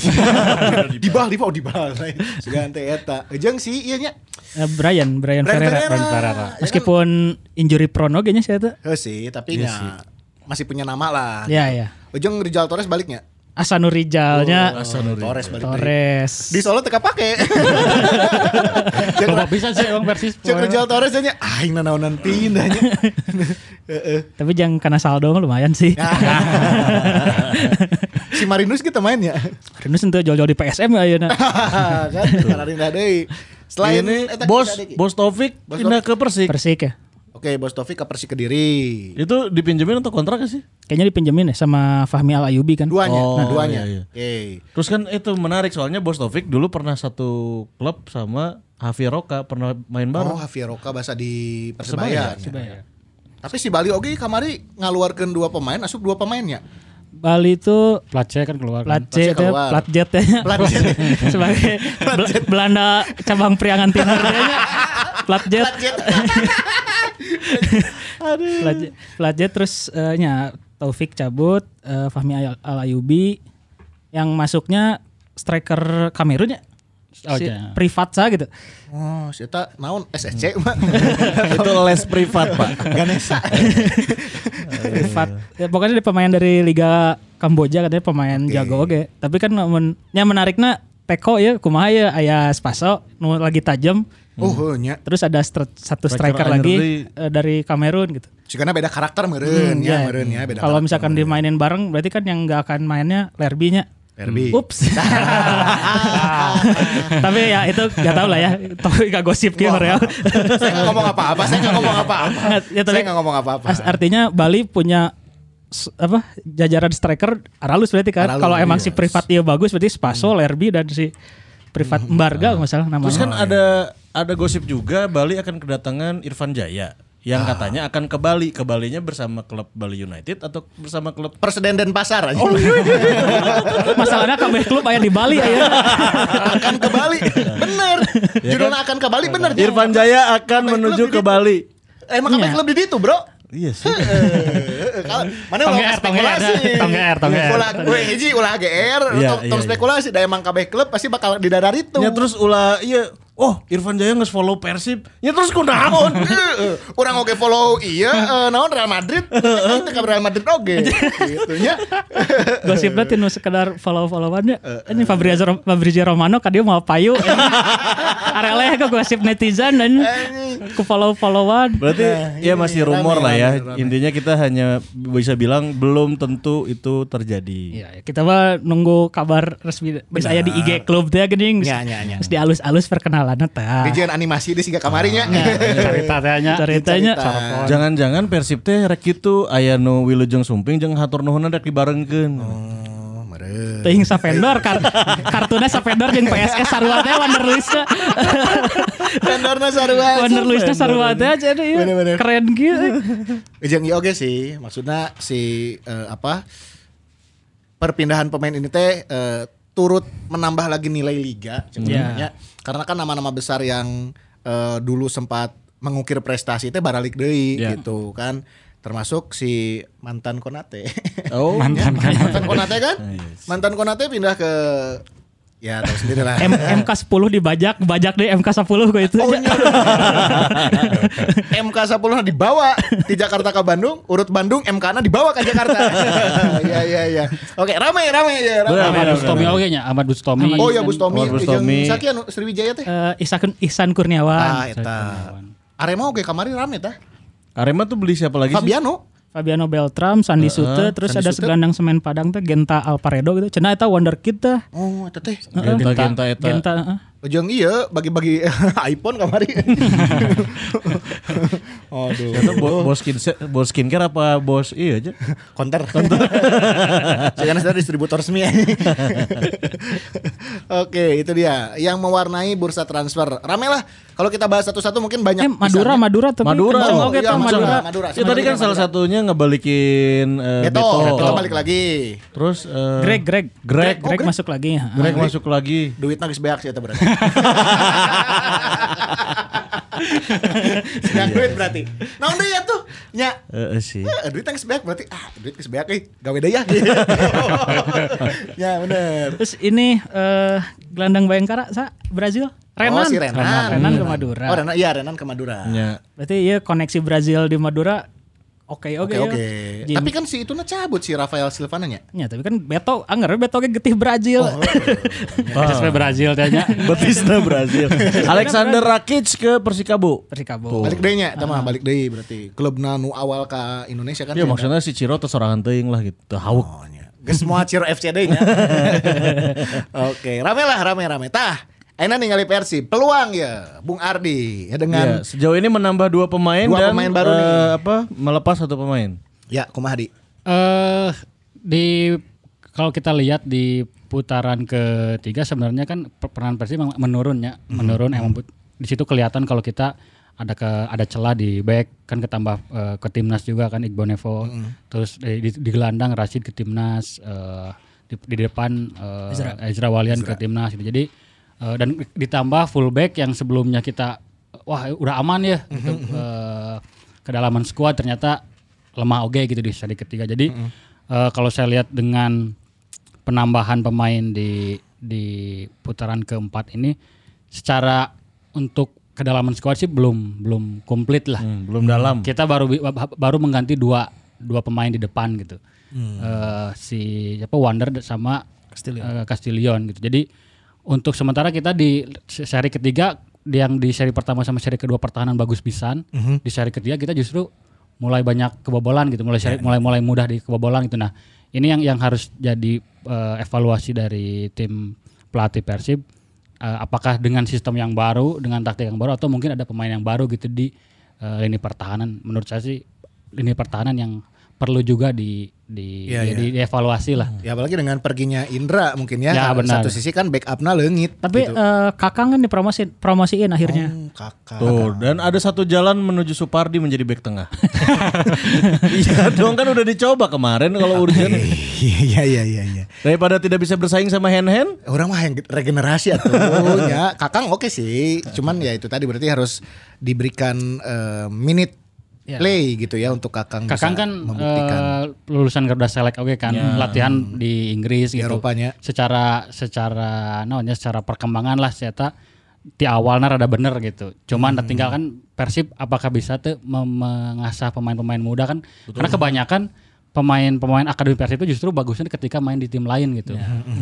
Speaker 3: Dybala, Dybala, Dybala. *laughs* Sugan teh eta. Jeung si ieu nya.
Speaker 4: Eh, Brian, Brian, Ferreira.
Speaker 5: Ferreira. Ferreira.
Speaker 4: Meskipun injury prone oge nya saya tuh.
Speaker 3: Heuh Eh, Iya sih, tapi nya masih punya nama lah.
Speaker 4: Ya ya.
Speaker 3: Ujung Rizal Torres baliknya.
Speaker 4: Asanu Rijalnya
Speaker 3: Oh, Torres balik.
Speaker 4: Torres.
Speaker 3: Di Solo teka *laughs* pake.
Speaker 5: Bapak bisa sih emang Persis.
Speaker 3: Cek Rizal Torres nya aing nanaonan *laughs* tindanya. Heeh.
Speaker 4: Tapi jangan karena saldo mah lumayan sih.
Speaker 3: Ya. si Marinus kita main ya.
Speaker 4: *laughs* Renus itu jual-jual di PSM ya ayeuna.
Speaker 3: *laughs* kan Kararinda deui. Selain eh,
Speaker 2: ini
Speaker 3: eta
Speaker 2: bos
Speaker 3: kita deui.
Speaker 2: bos Taufik
Speaker 3: Bos
Speaker 2: pindah ke Persik.
Speaker 4: Persik ya.
Speaker 3: Oke, Bos Taufik ke Persi Kediri.
Speaker 2: Itu dipinjemin untuk kontrak gak sih?
Speaker 4: Kayaknya dipinjemin ya sama Fahmi Al Ayubi kan.
Speaker 3: Duanya,
Speaker 2: Oh,
Speaker 3: duanya.
Speaker 2: iya, iya.
Speaker 3: Oke.
Speaker 2: Terus kan itu menarik soalnya Bos Taufik dulu pernah satu klub sama Hafi Roka pernah main
Speaker 3: Oh,
Speaker 2: bareng.
Speaker 3: Javier Roca bahasa di Persebaya.
Speaker 4: Persebaya.
Speaker 3: Tapi si Bali oge kamari ngaluarkeun dua pemain, ya? asup dua pemainnya.
Speaker 4: Bali itu
Speaker 5: Plat C kan keluar.
Speaker 4: plat
Speaker 5: kan.
Speaker 4: C
Speaker 3: Plat C
Speaker 4: teh,
Speaker 3: keluar.
Speaker 4: *laughs* plat J teh.
Speaker 3: Plat J.
Speaker 4: sebagai Bel- Belanda cabang Priangan Timur *laughs* teh nya. Plat J. Plat J- Plat J terus eh, nya Taufik cabut, eh, Fahmi Al Al Ayubi yang masuknya striker Kamerun ya.
Speaker 5: Oh,
Speaker 4: si
Speaker 5: iya.
Speaker 4: Privatsa gitu.
Speaker 3: Oh, si eta naon SSC mah.
Speaker 2: itu les privat, Pak.
Speaker 3: Ganesa.
Speaker 5: iya.
Speaker 4: Privat. Ya, pokoknya dia pemain dari Liga Kamboja katanya pemain jago oke. Tapi kan namun nya menariknya Teko ya, kumaha ya, ayah Spaso nu lagi tajam.
Speaker 3: Oh, heuh nya.
Speaker 4: Terus ada stri- satu
Speaker 2: Striker
Speaker 4: striker lagi
Speaker 2: underly.
Speaker 4: eh, dari Kamerun gitu. Hmm,
Speaker 3: Sigana beda karakter meureun ya, meureun ya beda.
Speaker 4: iya. Kalau
Speaker 3: karakter.
Speaker 4: misalkan dimainin bareng berarti kan yang nggak akan mainnya Lerby-nya.
Speaker 3: Derby.
Speaker 4: Ups. *laughs* Tapi ya itu nggak tahu lah ya. Tapi gak gosip gitu
Speaker 3: *laughs*
Speaker 4: ya.
Speaker 3: saya nggak ngomong apa-apa, saya nggak ngomong apa-apa.
Speaker 4: *laughs* Ya, tapi-
Speaker 3: saya nggak ngomong apa-apa.
Speaker 4: As- artinya Bali punya s- apa jajaran striker aralus berarti kan.
Speaker 3: Aralus,
Speaker 4: Kalau emang
Speaker 3: iya. Hmm.
Speaker 4: si privat iya bagus berarti Spaso, Lerby dan si privat Mbarga kalau nggak salah namanya.
Speaker 2: Terus kan ada ada gosip juga Bali akan kedatangan Irfan Jaya yang katanya akan ke Bali. Ke Balinya bersama klub Bali United atau bersama klub
Speaker 3: Perseden dan pasar
Speaker 2: Oh,
Speaker 3: aja.
Speaker 2: iya.
Speaker 4: Masalahnya kabeh klub aya di Bali ya.
Speaker 3: *laughs*
Speaker 4: aya.
Speaker 3: *laughs* akan ke Bali. Bener.
Speaker 2: Ya
Speaker 3: Judulnya
Speaker 2: kan?
Speaker 3: akan ke Bali bener. Jang.
Speaker 2: Irfan Jaya akan
Speaker 3: Klub
Speaker 2: menuju
Speaker 3: di
Speaker 2: ke
Speaker 3: situ.
Speaker 2: Bali.
Speaker 3: Emang apa
Speaker 4: Iya.
Speaker 3: klub di situ, Bro?
Speaker 2: Iya sih.
Speaker 3: Eh, kalau- Mana
Speaker 5: Tong
Speaker 3: ulah
Speaker 5: GR, tong
Speaker 3: spekulasi.
Speaker 5: GR, *laughs* tong GR, tong GR.
Speaker 3: Ulah gue hiji ulah GR,
Speaker 2: Iya,
Speaker 3: tong tong
Speaker 2: iya,
Speaker 3: spekulasi da emang kabeh klub pasti bakal di daerah itu.
Speaker 2: Ya terus ulah iya, oh Irfan Jaya nggak follow Persib. Ya terus kunaon?
Speaker 3: Orang eh, oke follow iya eh, naon Real
Speaker 2: *laughs*
Speaker 3: Madrid. Kita ke Real Madrid oge. Gitu nya.
Speaker 4: Gosipnya tinu ya, sekedar follow-followannya.
Speaker 3: Eh,
Speaker 4: Ini Fabrizio Rom- Fabrizio Romano kan dia mau payu.
Speaker 3: *laughs*
Speaker 4: Areleh ke gosip netizen dan ke follow-followan.
Speaker 2: Berarti ya masih rumor lah ya. Intinya kita hanya bisa bilang belum tentu itu terjadi.
Speaker 4: Iya, kita mah nunggu kabar resmi. Bisa aya di IG klub teh geuning.
Speaker 3: Nya, nya, nya.
Speaker 4: Terus dialus-alus perkenalannya
Speaker 2: Ah.
Speaker 4: tah.
Speaker 3: Dijian animasi di siga kamarinya.
Speaker 2: Iya.
Speaker 3: *laughs*
Speaker 5: Cerita tehnya.
Speaker 4: Ceritanya
Speaker 2: Jangan-jangan Persib teh rek kitu aya nu wilujeng sumping jeung hatur nuhunna rek dibarengkeun.
Speaker 3: Oh, meureun.
Speaker 4: Ting Savendor kar kartunya Savendor jeung PSS sarua teh Wanderlustnya.
Speaker 3: Vendorna
Speaker 4: *laughs*
Speaker 3: sarua.
Speaker 4: Wanderlustnya sarua teh jadi iya.
Speaker 3: Bener-bener.
Speaker 4: keren gitu.
Speaker 3: *laughs* Jeung ieu oge iya, sih, maksudnya si eh, apa perpindahan pemain ini teh eh, turut menambah lagi nilai liga sebenarnya. Karena kan nama-nama besar yang eh, dulu sempat mengukir prestasi teh baralik deui gitu kan. Termasuk si mantan Konate.
Speaker 2: Oh.
Speaker 5: Mantan kan.
Speaker 3: mantan Konate kan? Mantan Konate pindah ke ya tahu sendiri lah.
Speaker 4: *laughs* M MK 10 dibajak, bajak deh MK 10 gue itu.
Speaker 3: Oh, *laughs* iya. MK 10 -na dibawa di Jakarta ke Bandung, urut Bandung MK na dibawa ke Jakarta. *laughs* Iya iya iya. Oke, ramai ramai ya, ramai.
Speaker 4: Iya,
Speaker 5: Ahmad Bustomi oke nya, Ahmad Bustomi.
Speaker 3: Oh ya Bustomi,
Speaker 2: Oh, Bustomi.
Speaker 3: Sakian Sriwijaya teh.
Speaker 4: Eh, Ihsan Ihsan Kurniawan.
Speaker 3: Ah, eta. Arema oke kemarin rame tah.
Speaker 2: Arema tuh beli siapa lagi sih?
Speaker 3: Fabiano.
Speaker 4: Fabiano Beltram, Sandi Sute, terus
Speaker 3: Sandi
Speaker 4: ada
Speaker 3: Sute.
Speaker 4: segelandang semen Padang teh Genta Alparedo gitu. Cenah eta wonder kid teh.
Speaker 3: Oh, eta teh.
Speaker 2: Genta Genta Eta.
Speaker 4: Genta heeh.
Speaker 3: Jeung iya bagi-bagi *laughs* iPhone *laughs* kamari. Aduh.
Speaker 2: Ternyata bo- bos skin- bos skincare apa bos iya aja.
Speaker 3: Konter. *laughs* Saya kan distributor resmi. *laughs* Oke, itu dia yang mewarnai bursa transfer. Rame lah. Kalau kita bahas satu-satu mungkin banyak.
Speaker 4: Eh, Madura,
Speaker 3: misalnya.
Speaker 4: Madura tapi
Speaker 2: Madura.
Speaker 4: kenceng
Speaker 3: Oh,
Speaker 4: oge
Speaker 3: iya,
Speaker 4: tah,
Speaker 3: Madura.
Speaker 4: Madura.
Speaker 3: Madura.
Speaker 2: Ya, tadi kan
Speaker 3: Madura.
Speaker 2: salah satunya ngebalikin eh,
Speaker 3: Beto,
Speaker 2: Beto.
Speaker 3: Beto balik lagi.
Speaker 2: Terus eh,
Speaker 4: Greg, Greg,
Speaker 2: Greg.
Speaker 4: Greg, masuk lagi. heeh.
Speaker 2: Greg masuk lagi.
Speaker 3: Duitnya geus beak sih eta *laughs* berarti. Sedang duit berarti. Naon deui ya tuh? Nya.
Speaker 2: Eh, eh, sih.
Speaker 3: Eh, duit geus beak berarti ah duit geus beak euy. Gawe deui *laughs* ya. Ya bener.
Speaker 4: Terus ini eh gelandang Bayangkara sa Brazil, Renan.
Speaker 3: Oh, si Renan.
Speaker 4: Renan ke Madura.
Speaker 3: Oh, Renan, iya Renan ke Madura.
Speaker 2: Ya.
Speaker 4: Berarti iya koneksi Brazil di Madura oke
Speaker 3: Oke
Speaker 4: oke. ya.
Speaker 3: oke.
Speaker 4: Jim-
Speaker 3: Tapi kan si itu cabut si Rafael Silvana nya.
Speaker 4: Ya, tapi kan Beto, anggar Beto ke getih Brazil.
Speaker 3: Oh,
Speaker 4: Ah.
Speaker 2: Ah.
Speaker 5: SSB Brazil tanya.
Speaker 2: Batista Brazil. Alexander Rakic ke Persikabo.
Speaker 4: *laughs*
Speaker 2: Iya,
Speaker 4: Persikabo.
Speaker 3: Balik deui nya, eta mah balik deui berarti. Klubna nu awal ka Indonesia kan.
Speaker 2: Ya maksudnya si Ciro tuh sorangan teuing lah gitu. Teu Hauk.
Speaker 3: Oh, nya. Geus moal Ciro FC deui nya. Oke, rame lah rame-rame. Tah, Aina ningali Persib, peluang ya Bung Ardi
Speaker 2: Ya,
Speaker 3: ya dengan
Speaker 2: sejauh ini menambah dua pemain
Speaker 3: Dua
Speaker 2: dan
Speaker 3: pemain baru
Speaker 2: eh,
Speaker 3: nih.
Speaker 2: apa melepas satu pemain.
Speaker 3: ya kumaha di.
Speaker 5: *laughs* Eh di kalau kita lihat di putaran ketiga sebenarnya kan per- peran Persib memang menurun ya, menurun emang but- di situ kelihatan kalau kita ada ke ada celah di back kan ketambah eh, ke timnas juga kan Iqbal Nevo terus di, di, di gelandang Rashid ke timnas eh, di, di depan eh, Ezra. Walian ke timnas gitu. Jadi eh, dan ditambah fullback yang sebelumnya kita wah udah aman ya gitu. Eh, kedalaman squad ternyata lemah oke gitu di seri ketiga. Jadi eh, kalau saya lihat dengan penambahan pemain di di putaran keempat ini secara untuk kedalaman squad sih belum belum komplit lah.
Speaker 2: Hmm, belum dalam.
Speaker 5: Kita baru bi- ba- baru mengganti dua dua pemain di depan gitu.
Speaker 2: Hmm.
Speaker 5: Eh, si siapa Wander sama Castillion. gitu. Jadi untuk sementara kita di seri ketiga yang di seri pertama sama seri kedua pertahanan bagus pisan. Di seri ketiga kita justru mulai banyak kebobolan gitu, mulai seri- mulai mulai mudah di kebobolan gitu. Nah, ini yang yang harus jadi eh, evaluasi dari tim pelatih Persib Eh, apakah dengan sistem yang baru, dengan taktik yang baru, atau mungkin ada pemain yang baru gitu di eh, lini pertahanan. Menurut saya sih lini pertahanan yang perlu juga di di,
Speaker 3: Iya, iya.
Speaker 5: di- di- dievaluasi lah.
Speaker 3: Ya apalagi dengan perginya Indra mungkin ya.
Speaker 5: Ya, benar.
Speaker 3: Satu sisi kan backupnya leungit.
Speaker 4: Tapi Iya. eh, Kakang kan dipromosi promosiin akhirnya.
Speaker 3: Gitu. Oh, kakak.
Speaker 2: Tuh, *laughs* dan ada satu jalan menuju Supardi menjadi back tengah. Iya dong kan udah dicoba kemarin kalau urgen
Speaker 3: Iya iya iya iya.
Speaker 2: daripada tidak bisa bersaing sama Hen Hen.
Speaker 3: Orang mah yang regenerasi atuh ya. Kakang oke sih, cuman ya itu tadi berarti harus diberikan eh, minute play gitu ya untuk Kakang. bisa
Speaker 5: Kakang kan
Speaker 3: membuktikan Ya.
Speaker 5: eh, lulusan Garuda Select oke kan, latihan di Inggris
Speaker 3: di
Speaker 5: gitu.
Speaker 3: Eropanya.
Speaker 5: secara secara namanya secara perkembangan lah ternyata di awalnya rada bener gitu. Cuman tinggal kan Persib apakah bisa tuh mem- mengasah pemain-pemain muda kan? Karena kebanyakan pemain-pemain akademi Persib itu justru bagusnya ketika main di tim lain gitu.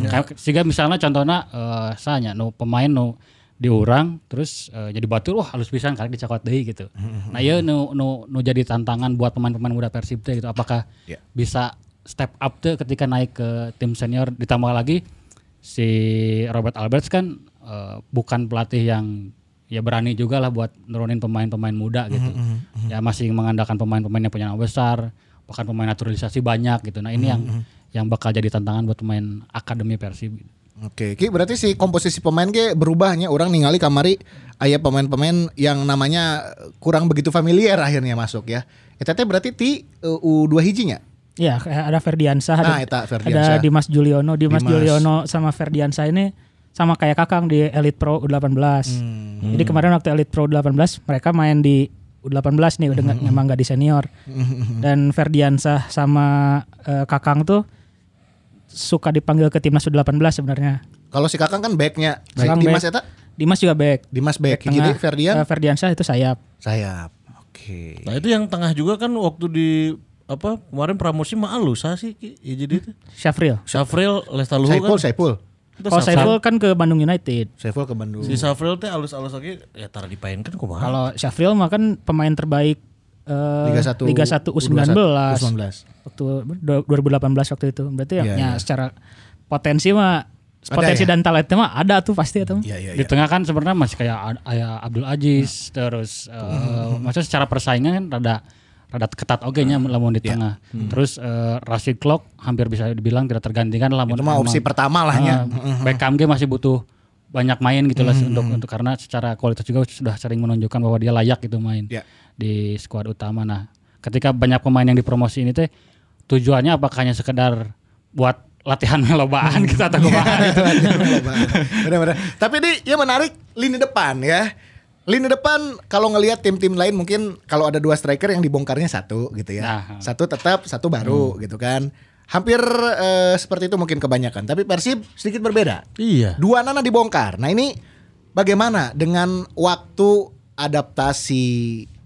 Speaker 5: Kayak- Sehingga misalnya contohnya eh sanya nu pemain nu diurang terus eh, jadi batu wah halus pisan kali dicakot deui gitu. Nah, ieu nu nu nu jadi tantangan buat pemain-pemain muda Persib teh gitu. Apakah
Speaker 3: Ya.
Speaker 5: bisa step up tuh ketika naik ke tim senior ditambah lagi si Robert Alberts kan eh, bukan pelatih yang ya berani juga lah buat nurunin pemain-pemain muda gitu ya masih mengandalkan pemain-pemain yang punya nama besar bahkan pemain naturalisasi banyak gitu nah ini yang yang bakal jadi tantangan buat pemain akademi Persib gitu.
Speaker 3: Oke, Ki berarti si komposisi pemain ge berubahnya orang ningali kamari aya pemain-pemain yang namanya kurang begitu familiar akhirnya masuk ya. Eta teh berarti ti eh, U2 hijinya.
Speaker 4: Ya, kayak ada Ferdiansa, ada,
Speaker 3: Nah, eta Ferdiansyah.
Speaker 4: ada Dimas Juliono, Dimas,
Speaker 3: Dimas.
Speaker 4: Juliono sama Ferdiansa ini sama kayak Kakang di Elite Pro U18.
Speaker 3: Hmm.
Speaker 4: Jadi kemarin waktu Elite Pro U18 mereka main di U18 nih udah
Speaker 3: Hmm.
Speaker 4: nggak- memang nggak di senior.
Speaker 3: *laughs*
Speaker 4: Dan Ferdiansa sama eh, Kakang tuh suka dipanggil ke timnas U18 sebenarnya.
Speaker 3: Kalau si Kakang kan backnya, Si
Speaker 4: Kakang
Speaker 3: Dimas
Speaker 4: back.
Speaker 3: eta
Speaker 4: Dimas juga back.
Speaker 3: Dimas back,
Speaker 4: Back
Speaker 3: jadi
Speaker 4: tengah.
Speaker 3: Ferdian
Speaker 4: Eh, Ferdiansyah itu sayap.
Speaker 3: sayap. Oke.
Speaker 2: Nah itu yang tengah juga kan waktu di apa kemarin pramosi mah alus ah sih Ki. ya, jadi itu.
Speaker 4: Syafril.
Speaker 2: Syafril Lestaluhu
Speaker 3: Saipul,
Speaker 2: kan.
Speaker 3: Saipul.
Speaker 4: Kalau Saiful kan ke Bandung United.
Speaker 3: Sevel ke Bandung.
Speaker 2: Si Safril teh alus-alus lagi ya taruh dipain kan kumaha.
Speaker 4: Kalau Syafril mah kan pemain terbaik eh,
Speaker 3: Liga 1
Speaker 4: Liga 1 U19
Speaker 3: U19.
Speaker 4: waktu do- 2018 waktu itu. Berarti ya,
Speaker 3: Iya,
Speaker 4: ya
Speaker 3: iya.
Speaker 4: secara potensi mah
Speaker 3: Ada
Speaker 4: potensi
Speaker 3: ya?
Speaker 4: dan talentnya mah ada tuh pasti ya, atau.
Speaker 3: Iya iya
Speaker 5: Di
Speaker 3: iya. Hmm.
Speaker 5: tengah kan sebenarnya masih kayak Ad- Aya Abdul Aziz terus eh, maksudnya secara persaingan kan rada rada ketat oge
Speaker 3: Hmm.
Speaker 5: nya
Speaker 3: Iya.
Speaker 5: lamun di tengah. Terus eh, Rashid Klok hampir bisa dibilang tidak tergantikan lamun
Speaker 3: Itu mah opsi Hmm.
Speaker 5: emang-
Speaker 3: pertama lah ya. nya. *laughs*
Speaker 5: Ah, Beckham ge masih butuh banyak main gitu lah
Speaker 3: Hmm.
Speaker 5: untuk untuk karena secara kualitas juga sudah sering menunjukkan bahwa dia layak gitu main
Speaker 3: Ya.
Speaker 5: di skuad utama. Nah, ketika banyak pemain yang dipromosi ini teh tujuannya apakah hanya sekedar buat latihan *laughs* melobaan gitu
Speaker 3: Iya.
Speaker 5: atau kumaha gitu.
Speaker 3: Benar-benar. Tapi ini ya menarik lini depan ya. Lini depan kalau ngelihat tim-tim lain mungkin kalau ada dua striker yang dibongkarnya satu gitu ya.
Speaker 5: Nah. Hmm.
Speaker 3: Satu tetap, satu baru gitu kan. Hampir eh, seperti itu mungkin kebanyakan. Tapi Persib sedikit berbeda.
Speaker 2: Iya.
Speaker 3: Dua nana dibongkar. Nah ini bagaimana dengan waktu adaptasi?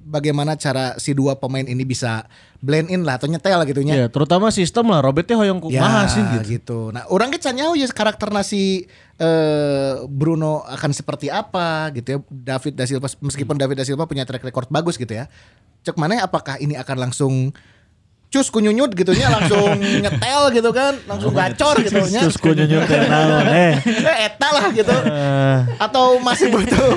Speaker 3: Bagaimana cara si dua pemain ini bisa blend in lah atau nyetel gitu nya? Ya,
Speaker 2: Iya, terutama sistem lah Robetnya hoyong kumaha sih gitu.
Speaker 3: Nah, orang kita nyaho ya karakter nasi eh, Bruno akan seperti apa gitu ya. David da Silva meskipun David da Silva punya track record bagus gitu ya. Cek mana apakah ini akan langsung cus kunyunyut gitu nya
Speaker 2: *laughs*
Speaker 3: langsung nyetel gitu kan, langsung gacor gitu nya.
Speaker 2: Terus ku nyunyut teh naon eh.
Speaker 3: Eh, Eta lah gitu atau masih
Speaker 5: *laughs*
Speaker 3: butuh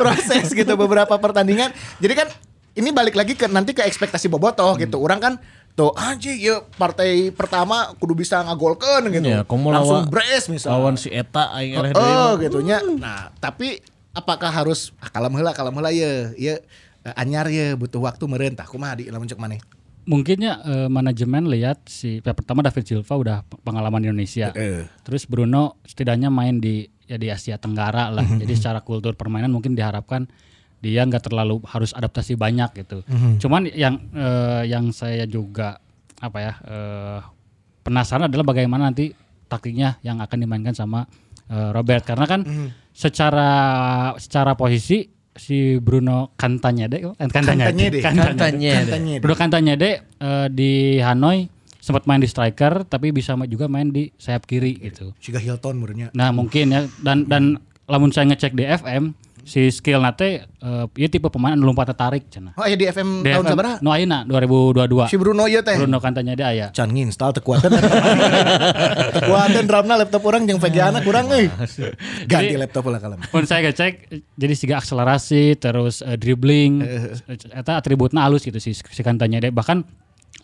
Speaker 3: proses gitu beberapa pertandingan. Jadi kan ini balik lagi ke nanti ke ekspektasi
Speaker 5: Hmm.
Speaker 3: bobotoh gitu. Orang kan tuh anjing ya partai pertama kudu bisa ngagolkeun gitu.
Speaker 5: Iya,
Speaker 2: Ya, komo
Speaker 3: Langsung
Speaker 2: lawa-
Speaker 3: brace misalnya.
Speaker 2: Lawan si Eta aing eleh deui
Speaker 3: Oh,
Speaker 2: mah.
Speaker 3: gitu nya. Nah, tapi apakah harus ah, kalem heula kalem heula ye ye eh, anyar ye butuh waktu meureun tah kumaha di lamun cek maneh.
Speaker 5: Mungkinnya eh, manajemen lihat si ya, pertama David Silva udah p- pengalaman Indonesia.
Speaker 3: Heeh.
Speaker 5: Terus Bruno setidaknya main di ya di Asia Tenggara lah. Jadi secara kultur permainan mungkin diharapkan dia nggak terlalu harus adaptasi banyak gitu. Cuman yang eh, yang saya juga apa ya eh, penasaran adalah bagaimana nanti taktiknya yang akan dimainkan sama eh, Robert karena kan secara secara posisi si Bruno Kantanya deh, Kantanya
Speaker 3: Kantanyede. Kantanyede.
Speaker 5: Bruno Kantanyede eh, di Hanoi sempat main di striker tapi bisa ma- juga main di sayap kiri gitu.
Speaker 3: Siga Hilton meureunnya.
Speaker 5: Nah mungkin ya dan dan lamun saya ngecek di FM si skill nate eh ieu tipe pemain anu lompat tarik cenah.
Speaker 3: Oh, aya di FM
Speaker 5: Di
Speaker 3: tahun
Speaker 5: FM
Speaker 3: sabaraha?
Speaker 5: Nu ayeuna 2022.
Speaker 3: Si eh. Bruno ieu teh.
Speaker 5: Bruno Kantanya dia aya.
Speaker 3: Can nginstal tekuatan
Speaker 5: *laughs*
Speaker 3: Tekuatan ramna laptop orang Yang VGA anak kurang euy. Ganti
Speaker 5: Jadi-
Speaker 3: laptop lah kalem
Speaker 5: Pun saya ngecek eh, jadi siga akselerasi terus eh, dribbling eh, eta atributna halus gitu si si Kantanya dia bahkan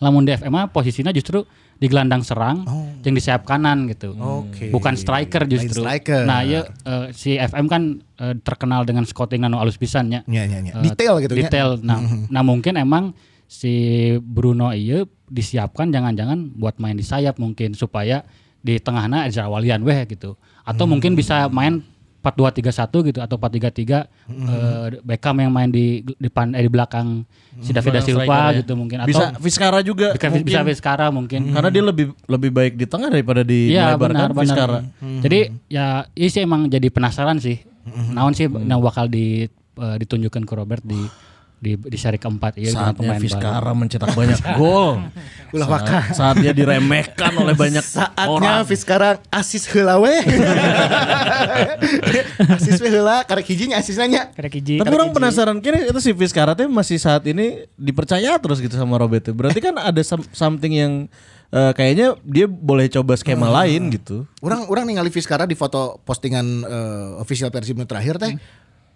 Speaker 5: lamun di FM mah posisinya justru di gelandang serang yang di sayap kanan gitu.
Speaker 3: Oke.
Speaker 5: Bukan striker
Speaker 3: Lain
Speaker 5: justru.
Speaker 3: striker.
Speaker 5: Nah, ya si FM kan eh, terkenal dengan scouting anu alus pisannya.
Speaker 3: Iya, iya, iya.
Speaker 5: Eh,
Speaker 3: Detail gitu ya.
Speaker 5: Detail. Nah, nah mungkin emang si Bruno iya disiapkan jangan-jangan buat main di sayap mungkin supaya di tengahnya Ezra Walian weh gitu.
Speaker 3: Mm-hmm.
Speaker 5: Atau mungkin bisa main 4-2-3-1 gitu atau 4-3-3
Speaker 3: Mm-hmm.
Speaker 5: eh, Beckham yang main di depan eh, di belakang
Speaker 3: Mm-hmm.
Speaker 5: si David da
Speaker 2: Belakang
Speaker 5: Silva
Speaker 2: striker ya.
Speaker 5: gitu mungkin atau
Speaker 2: Bisa Vizcara juga.
Speaker 5: bisa
Speaker 2: mungkin.
Speaker 5: bisa Vizcara mungkin.
Speaker 2: Karena dia lebih lebih baik di tengah daripada di
Speaker 5: Hmm. Iya
Speaker 2: lebar
Speaker 5: benar
Speaker 2: kan
Speaker 5: benar.
Speaker 2: Vizcara.
Speaker 5: Jadi ya ini sih emang jadi penasaran sih. Naon sih yang bakal di eh, ditunjukkan ke Robert di di di seri keempat iya dengan
Speaker 2: Saatnya
Speaker 5: pemain baru.
Speaker 2: Vizcara mencetak banyak
Speaker 5: *laughs*
Speaker 2: gol. Saat-
Speaker 3: Ulah waka.
Speaker 2: Saatnya diremehkan oleh banyak
Speaker 3: Saatnya Fiskara asis heula we. *laughs* asis we heula karek hijinya asis nanya.
Speaker 4: Karek hiji.
Speaker 2: Tapi orang penasaran kira itu si Vizcara teh masih saat ini dipercaya terus gitu sama Robert. teh. Berarti kan ada some- something yang eh, kayaknya dia boleh coba skema
Speaker 5: Eh.
Speaker 2: lain gitu.
Speaker 3: Orang orang ningali Fiskara di foto postingan eh, official Persib nu terakhir
Speaker 5: Hmm.
Speaker 3: teh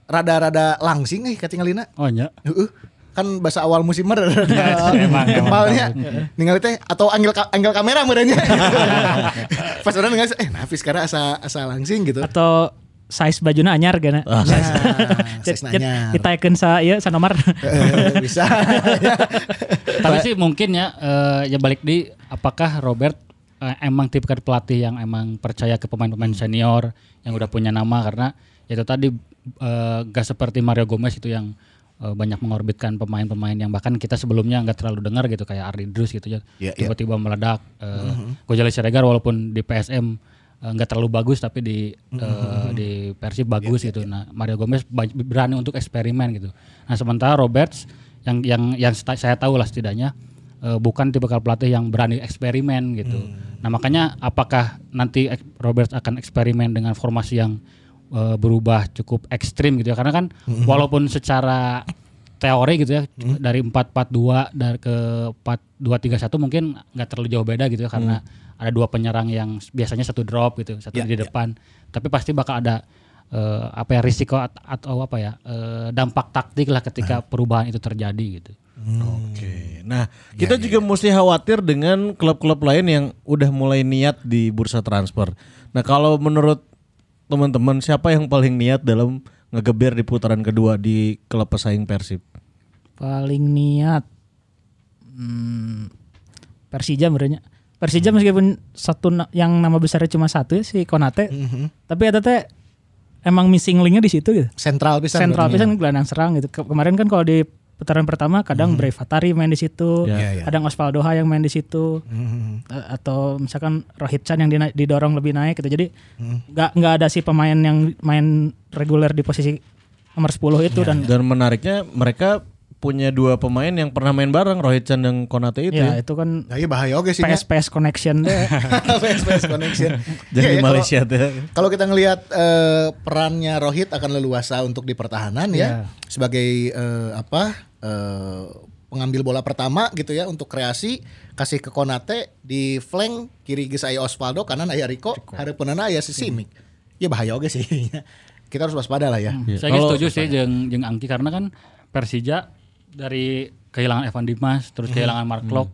Speaker 3: rada-rada langsing eh, euy katingalina.
Speaker 5: Oh iya.
Speaker 3: Heeh. Kan bahasa awal musim mer.
Speaker 5: Emang, emang.
Speaker 3: Gempalnya ningali teh atau angel ka- angel kamera merenya. Pas orang ningali eh nah Fiskara asa asa langsing gitu.
Speaker 4: atau size bajuna anyar gana.
Speaker 3: Ah, Saya nanya.
Speaker 4: Kita ikan sa iya, ieu sa nomor.
Speaker 3: Eh, bisa.
Speaker 5: Tapi sih mungkin ya eh, ya balik di apakah Robert eh, emang tipe pelatih yang emang percaya ke pemain-pemain senior yang udah punya nama karena ya itu tadi eh, gak seperti Mario Gomez itu yang eh, banyak mengorbitkan pemain-pemain yang bahkan kita sebelumnya nggak terlalu dengar gitu kayak Ardi Drus gitu ya
Speaker 3: Iya, iya.
Speaker 5: tiba-tiba meledak eh Gojali Siregar walaupun di PSM eh, nggak terlalu bagus tapi di eh, di Persib bagus gitu. Nah, Mario Gomez ba- berani untuk eksperimen gitu. Nah, sementara Roberts yang yang yang sta- saya tahu lah setidaknya eh, eh, bukan tipe pelatih yang berani eksperimen gitu. Nah makanya apakah nanti ek- Roberts akan eksperimen dengan formasi yang eh, berubah cukup ekstrim gitu ya? Karena kan walaupun secara teori gitu ya dari 4-4-2 dari ke 4-2-3-1 mungkin nggak terlalu jauh beda gitu ya karena ada dua penyerang yang biasanya satu drop gitu satu di depan tapi pasti bakal ada eh, apa ya risiko at- atau apa ya eh, dampak taktik lah ketika perubahan itu terjadi gitu
Speaker 2: Oke. Nah, kita juga mesti khawatir dengan klub-klub lain yang udah mulai niat di bursa transfer. Nah, kalau menurut teman-teman siapa yang paling niat dalam ngegeber di putaran kedua di klub pesaing Persib?
Speaker 4: *laughs* Paling niat hmm, Persija menurutnya. Persija
Speaker 3: Hmm.
Speaker 4: meskipun satu na- yang nama besarnya cuma satu ya, si Konate,
Speaker 3: Mhm.
Speaker 4: tapi ya teh emang missing linknya di situ gitu.
Speaker 3: Sentral pisan.
Speaker 4: Sentral
Speaker 3: berarti.
Speaker 4: pisan gelandang serang gitu. Ke- Kemarin kan kalau di putaran pertama kadang Brave Hatari main di situ,
Speaker 2: Ya.
Speaker 3: Iya, iya.
Speaker 4: kadang Osvaldo Ha yang main di situ, A- atau misalkan Rohit Chan yang dina- didorong lebih naik gitu. Jadi nggak nggak ada si pemain yang main reguler di posisi nomor 10 itu
Speaker 3: Kan
Speaker 4: dan
Speaker 2: Dan menariknya mereka punya dua pemain yang pernah main bareng Rohit Chan dan Konate itu.
Speaker 3: *laughs*
Speaker 4: ya
Speaker 2: ya.
Speaker 4: itu kan
Speaker 3: Ya iya bahaya oke sih. nya.
Speaker 4: PS PS connection
Speaker 3: *laughs*
Speaker 4: deh.
Speaker 3: Fans, fans connection.
Speaker 2: Jadi
Speaker 3: Iya, ya, kalau-
Speaker 2: Malaysia tuh.
Speaker 3: Kalau kita ngelihat eh, perannya Rohit akan leluasa untuk di pertahanan ya sebagai eh, apa eh, pengambil bola pertama gitu ya untuk kreasi kasih ke Konate di flank kiri geus aya Osvaldo kanan aya Rico, hareupeunana aya si Simic. Ya bahaya oge sih. *laughs* kita harus waspada lah ya.
Speaker 4: Iya.
Speaker 5: Saya
Speaker 2: Kalau-
Speaker 5: setuju sih jeng, jeng Angki karena kan Persija dari kehilangan Evan Dimas terus kehilangan Mark Klok.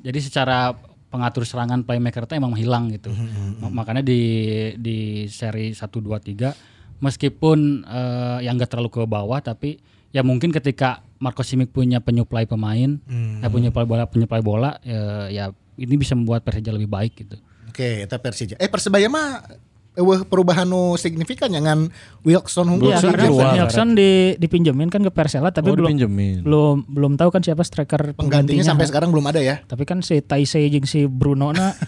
Speaker 5: Jadi secara pengatur serangan playmaker itu emang hilang gitu. Ma- Makanya di di seri 1 2 3 meskipun eh, yang gak terlalu ke bawah tapi ya mungkin ketika Marco Simic punya penyuplai pemain, ya punya penyuplai bola, penyuplai bola ya, ya ini bisa membuat Persija lebih baik gitu.
Speaker 3: Oke, eta Persija. Eh Persebaya mah eueuh perubahan nu signifikan ya ngan Wilson Hungkul.
Speaker 4: Iya,
Speaker 2: Wilson
Speaker 4: karena
Speaker 2: keluar.
Speaker 4: Wilson di, dipinjemin kan ke Persela tapi
Speaker 2: Oh,
Speaker 4: belum
Speaker 2: dipinjemin.
Speaker 4: belum belum tahu kan siapa striker
Speaker 3: Penggantinya
Speaker 4: penggantinya.
Speaker 3: sampai sekarang belum ada ya.
Speaker 4: Tapi kan si Taisei jeung si
Speaker 3: *laughs*
Speaker 4: Bruno na.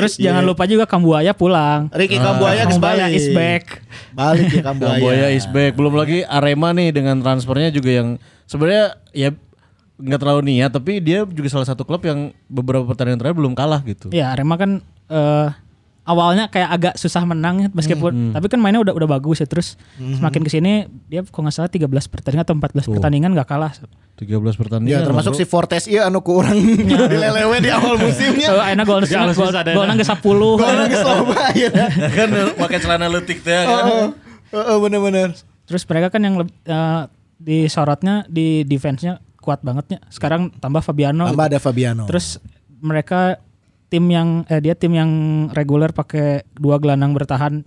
Speaker 4: Terus
Speaker 3: Iya,
Speaker 4: jangan lupa juga Kambuaya pulang.
Speaker 3: Ricky Kambuaya geus
Speaker 4: Ah. Kambuaya
Speaker 3: balik.
Speaker 4: is back.
Speaker 3: Balik ya
Speaker 2: Kamboya is back. Belum lagi Arema nih dengan transfernya juga yang sebenarnya ya nggak terlalu niat tapi dia juga salah satu klub yang beberapa pertandingan terakhir belum kalah gitu.
Speaker 4: Ya Arema kan eh, awalnya kayak agak susah menang ya,
Speaker 3: Hmm,
Speaker 4: meskipun tapi kan mainnya udah udah bagus ya terus semakin kesini dia kalau nggak salah 13 pertandingan atau 14 pertandingan nggak kalah.
Speaker 2: 13 pertandingan.
Speaker 3: Ya termasuk si Fortes iya anu ku
Speaker 4: *laughs*
Speaker 3: orang dilelewe di awal
Speaker 4: So,
Speaker 3: musimnya.
Speaker 4: enak Eh, gol
Speaker 5: Jangan
Speaker 4: gol
Speaker 5: susah, Dena.
Speaker 4: gol nang ke 10.
Speaker 3: Golnya geus loba ya.
Speaker 4: *laughs*
Speaker 2: kan pakai celana letik teh kan.
Speaker 3: Heeh. Heeh bener-bener.
Speaker 4: Terus mereka kan yang leb- eh, disorotnya di defense-nya kuat bangetnya. Sekarang tambah Fabiano.
Speaker 3: Tambah ada Fabiano.
Speaker 4: Terus mereka tim yang eh dia tim yang reguler pakai dua gelandang bertahan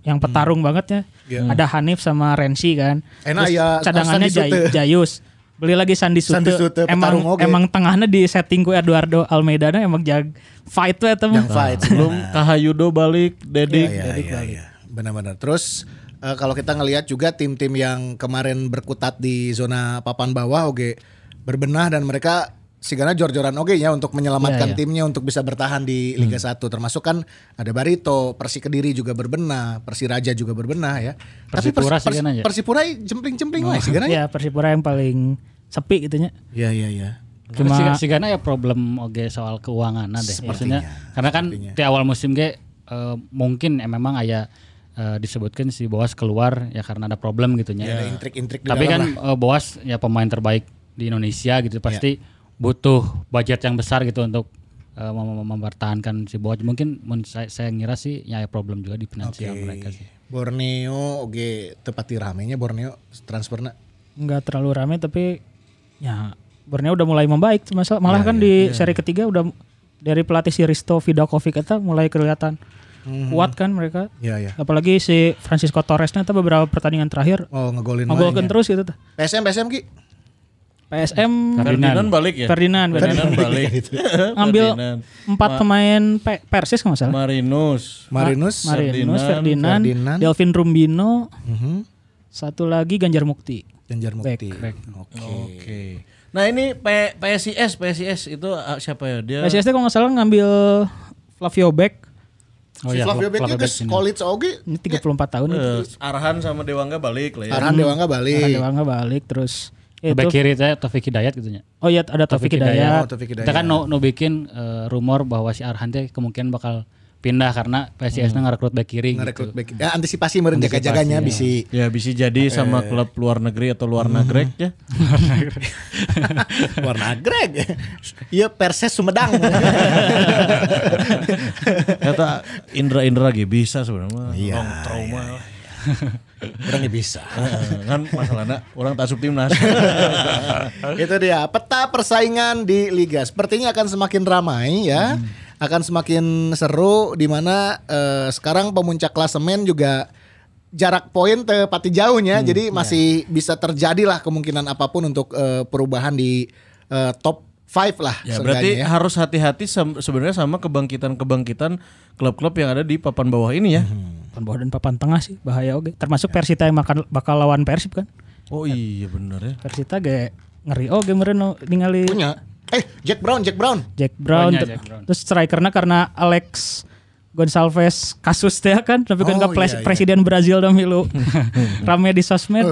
Speaker 3: Hmm.
Speaker 4: yang petarung bangetnya. Ada Hanif sama Rensi kan.
Speaker 3: Iya. Enak
Speaker 4: Terus
Speaker 3: ya,
Speaker 4: cadangannya
Speaker 3: Sandi Sute.
Speaker 4: Jay- Jayus. Beli lagi Sandi Sute.
Speaker 3: Sandi Sute,
Speaker 4: emang
Speaker 3: petarung oge.
Speaker 4: emang tengahnya di setting ku Eduardo Almeida emang jag fight we temen.
Speaker 3: yang fight.
Speaker 2: Belum Kahayudo balik, Dedik.
Speaker 3: Iya iya iya. Benar-benar. Terus eh, kalau kita ngelihat juga tim-tim yang kemarin berkutat di zona papan bawah oke berbenah dan mereka sigana jor-joran oke ya untuk
Speaker 5: Iya,
Speaker 3: menyelamatkan timnya untuk bisa bertahan di
Speaker 5: Hmm.
Speaker 3: Liga 1 termasuk kan ada Barito, Persi Kediri juga berbenah, Persiraja juga berbenah ya.
Speaker 5: Persipura
Speaker 3: Persi-
Speaker 5: sigana ya?
Speaker 3: Persipura jempling-jempling
Speaker 5: Oh,
Speaker 3: lah sigana ya.
Speaker 5: iya.
Speaker 4: Ya Persipura yang paling sepi gitunya.
Speaker 3: Iya iya iya.
Speaker 5: Cuma
Speaker 4: Cuma-
Speaker 5: sigana ya problem oge soal keuangan deh. Maksudnya karena kan di awal musim ge eh, mungkin eh, memang aya eh, disebutkan si Boas keluar ya karena ada problem gitu nya.
Speaker 3: Ada intrik-intrik di
Speaker 5: Tapi
Speaker 3: dalam
Speaker 5: kan
Speaker 3: lah. Ya.
Speaker 5: eh, Boas ya pemain terbaik di Indonesia gitu pasti butuh budget yang besar gitu untuk eh, mem- mem- mempertahankan si Boas. Mungkin mun saya, saya ngira sih ya ada problem juga di finansial mereka sih.
Speaker 3: Borneo oke tepati ramenya Borneo transfernya
Speaker 4: nggak terlalu rame tapi ya Borneo udah mulai membaik masa malah
Speaker 3: Ya,
Speaker 4: kan di seri ketiga udah dari pelatih si Risto Vidakovic itu mulai kelihatan kuat kan mereka
Speaker 3: Mhm. Iya iya.
Speaker 4: apalagi si Francisco Torresnya itu beberapa pertandingan terakhir
Speaker 3: Oh ngegolin wae.
Speaker 4: ngegolkan terus gitu tuh
Speaker 3: PSM PSM Ki.
Speaker 4: PSM
Speaker 2: Ferdinand balik ya.
Speaker 4: Ferdinand,
Speaker 2: Ferdinand
Speaker 4: iya. Ferdinand. Iya, gitu.
Speaker 2: balik. *laughs*
Speaker 4: ngambil
Speaker 2: Ferdinand.
Speaker 4: empat pemain Pe- Persis kalau nggak salah
Speaker 2: Marinus.
Speaker 3: Marinus
Speaker 4: Marinus Ferdinand,
Speaker 3: Ferdinand.
Speaker 4: Delvin Rumbino
Speaker 3: Mhm.
Speaker 4: satu lagi Ganjar Mukti
Speaker 3: Ganjar Mukti.
Speaker 4: Back, back.
Speaker 3: Oke.
Speaker 2: Oke. Nah ini P- PSIS, PSIS itu ah, siapa ya? Dia
Speaker 4: PSS itu kalau nggak salah ngambil Flavio Beck
Speaker 5: Oh
Speaker 3: si
Speaker 5: iya,
Speaker 3: Flavio Beck
Speaker 5: Flavio
Speaker 3: juga
Speaker 5: Beck ini.
Speaker 3: college oge.
Speaker 4: ini 34 tahun gitu.
Speaker 2: eh, Arhan sama Dewangga balik lah ya.
Speaker 3: Arhan Iya. Dewangga balik.
Speaker 4: Arhan Dewangga balik terus Ya,
Speaker 5: Bek
Speaker 4: Itu-
Speaker 5: kiri teh Taufik Hidayat gitu nya.
Speaker 4: Oh iya ada Taufik
Speaker 5: Taufik Hidayat.
Speaker 4: Hidayat.
Speaker 3: Oh, Taufik Hidayat.
Speaker 5: Kita kan no, no bikin eh, rumor bahwa si Arhan teh kemungkinan bakal pindah karena PSIS nya ngerekrut bek kiri
Speaker 3: Hmm. Ngerekrut
Speaker 5: gitu.
Speaker 3: back. Ya, antisipasi iya. meren jaga-jaganya bisi. *laughs*
Speaker 2: Ya bisa jadi sama klub luar negeri atau luar nagrek ya.
Speaker 3: Warna greg. Iya Perses *laughs* Sumedang.
Speaker 2: *laughs* Kata Indra Indra gitu bisa sebenarnya.
Speaker 3: Iya,
Speaker 2: Long trauma.
Speaker 3: Orangnya bisa. *laughs*
Speaker 2: Eh, kan masalahnya orang tak sub timnas. Ya,
Speaker 3: Itu dia peta persaingan di liga. Sepertinya akan semakin ramai ya.
Speaker 2: Hmm.
Speaker 3: Akan semakin seru di mana eh, sekarang pemuncak klasemen juga jarak poin tepati
Speaker 2: Hmm,
Speaker 3: jauhnya. jadi
Speaker 2: iya.
Speaker 3: masih bisa terjadilah kemungkinan apapun untuk eh, perubahan di eh, top 5 lah
Speaker 2: ya berarti
Speaker 3: seenggaknya ya.
Speaker 2: harus hati-hati sam- sebenarnya sama kebangkitan-kebangkitan klub-klub yang ada di papan bawah ini ya.
Speaker 3: Mhm.
Speaker 4: Papan bawah dan papan tengah sih bahaya oke. Termasuk Persita yang bakal, bakal lawan Persib kan.
Speaker 2: Oh iya bener ya.
Speaker 4: Persita ge ngeri oge meureun no, ningali
Speaker 3: punya. Eh, Jack Brown, Jack Brown.
Speaker 4: Jack Brown,
Speaker 5: Punya
Speaker 4: ter-
Speaker 5: Jack Brown.
Speaker 4: terus strikernya karena Alex Gonçalves kasus teh kan tapi kan
Speaker 3: Oh,
Speaker 4: ke pres-
Speaker 3: iya, iya.
Speaker 4: presiden Brazil dong milu rame di sosmed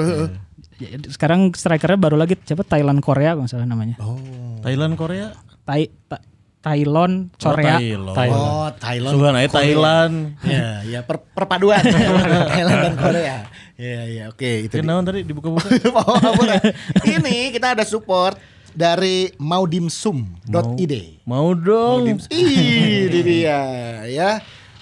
Speaker 4: Ya, sekarang strikernya baru lagi siapa Thailand Korea kalau nggak salah namanya
Speaker 3: Oh.
Speaker 2: Oh, Thailand Korea.
Speaker 4: Tai Ta- Thailand Korea
Speaker 2: Oh, Thailand.
Speaker 5: Thailand.
Speaker 3: Oh, Thailand.
Speaker 2: Sugan aja Thailand.
Speaker 3: Ya, ya per-
Speaker 2: *laughs*
Speaker 3: perpaduan Thailand dan Korea. Ya, ya, oke itu. dia.
Speaker 2: Kenaon tadi dibuka-buka. *laughs*
Speaker 3: Oh, boleh. Ini kita ada support dari maudimsum.id.
Speaker 2: Mau dong.
Speaker 3: Ih, ini dia ya.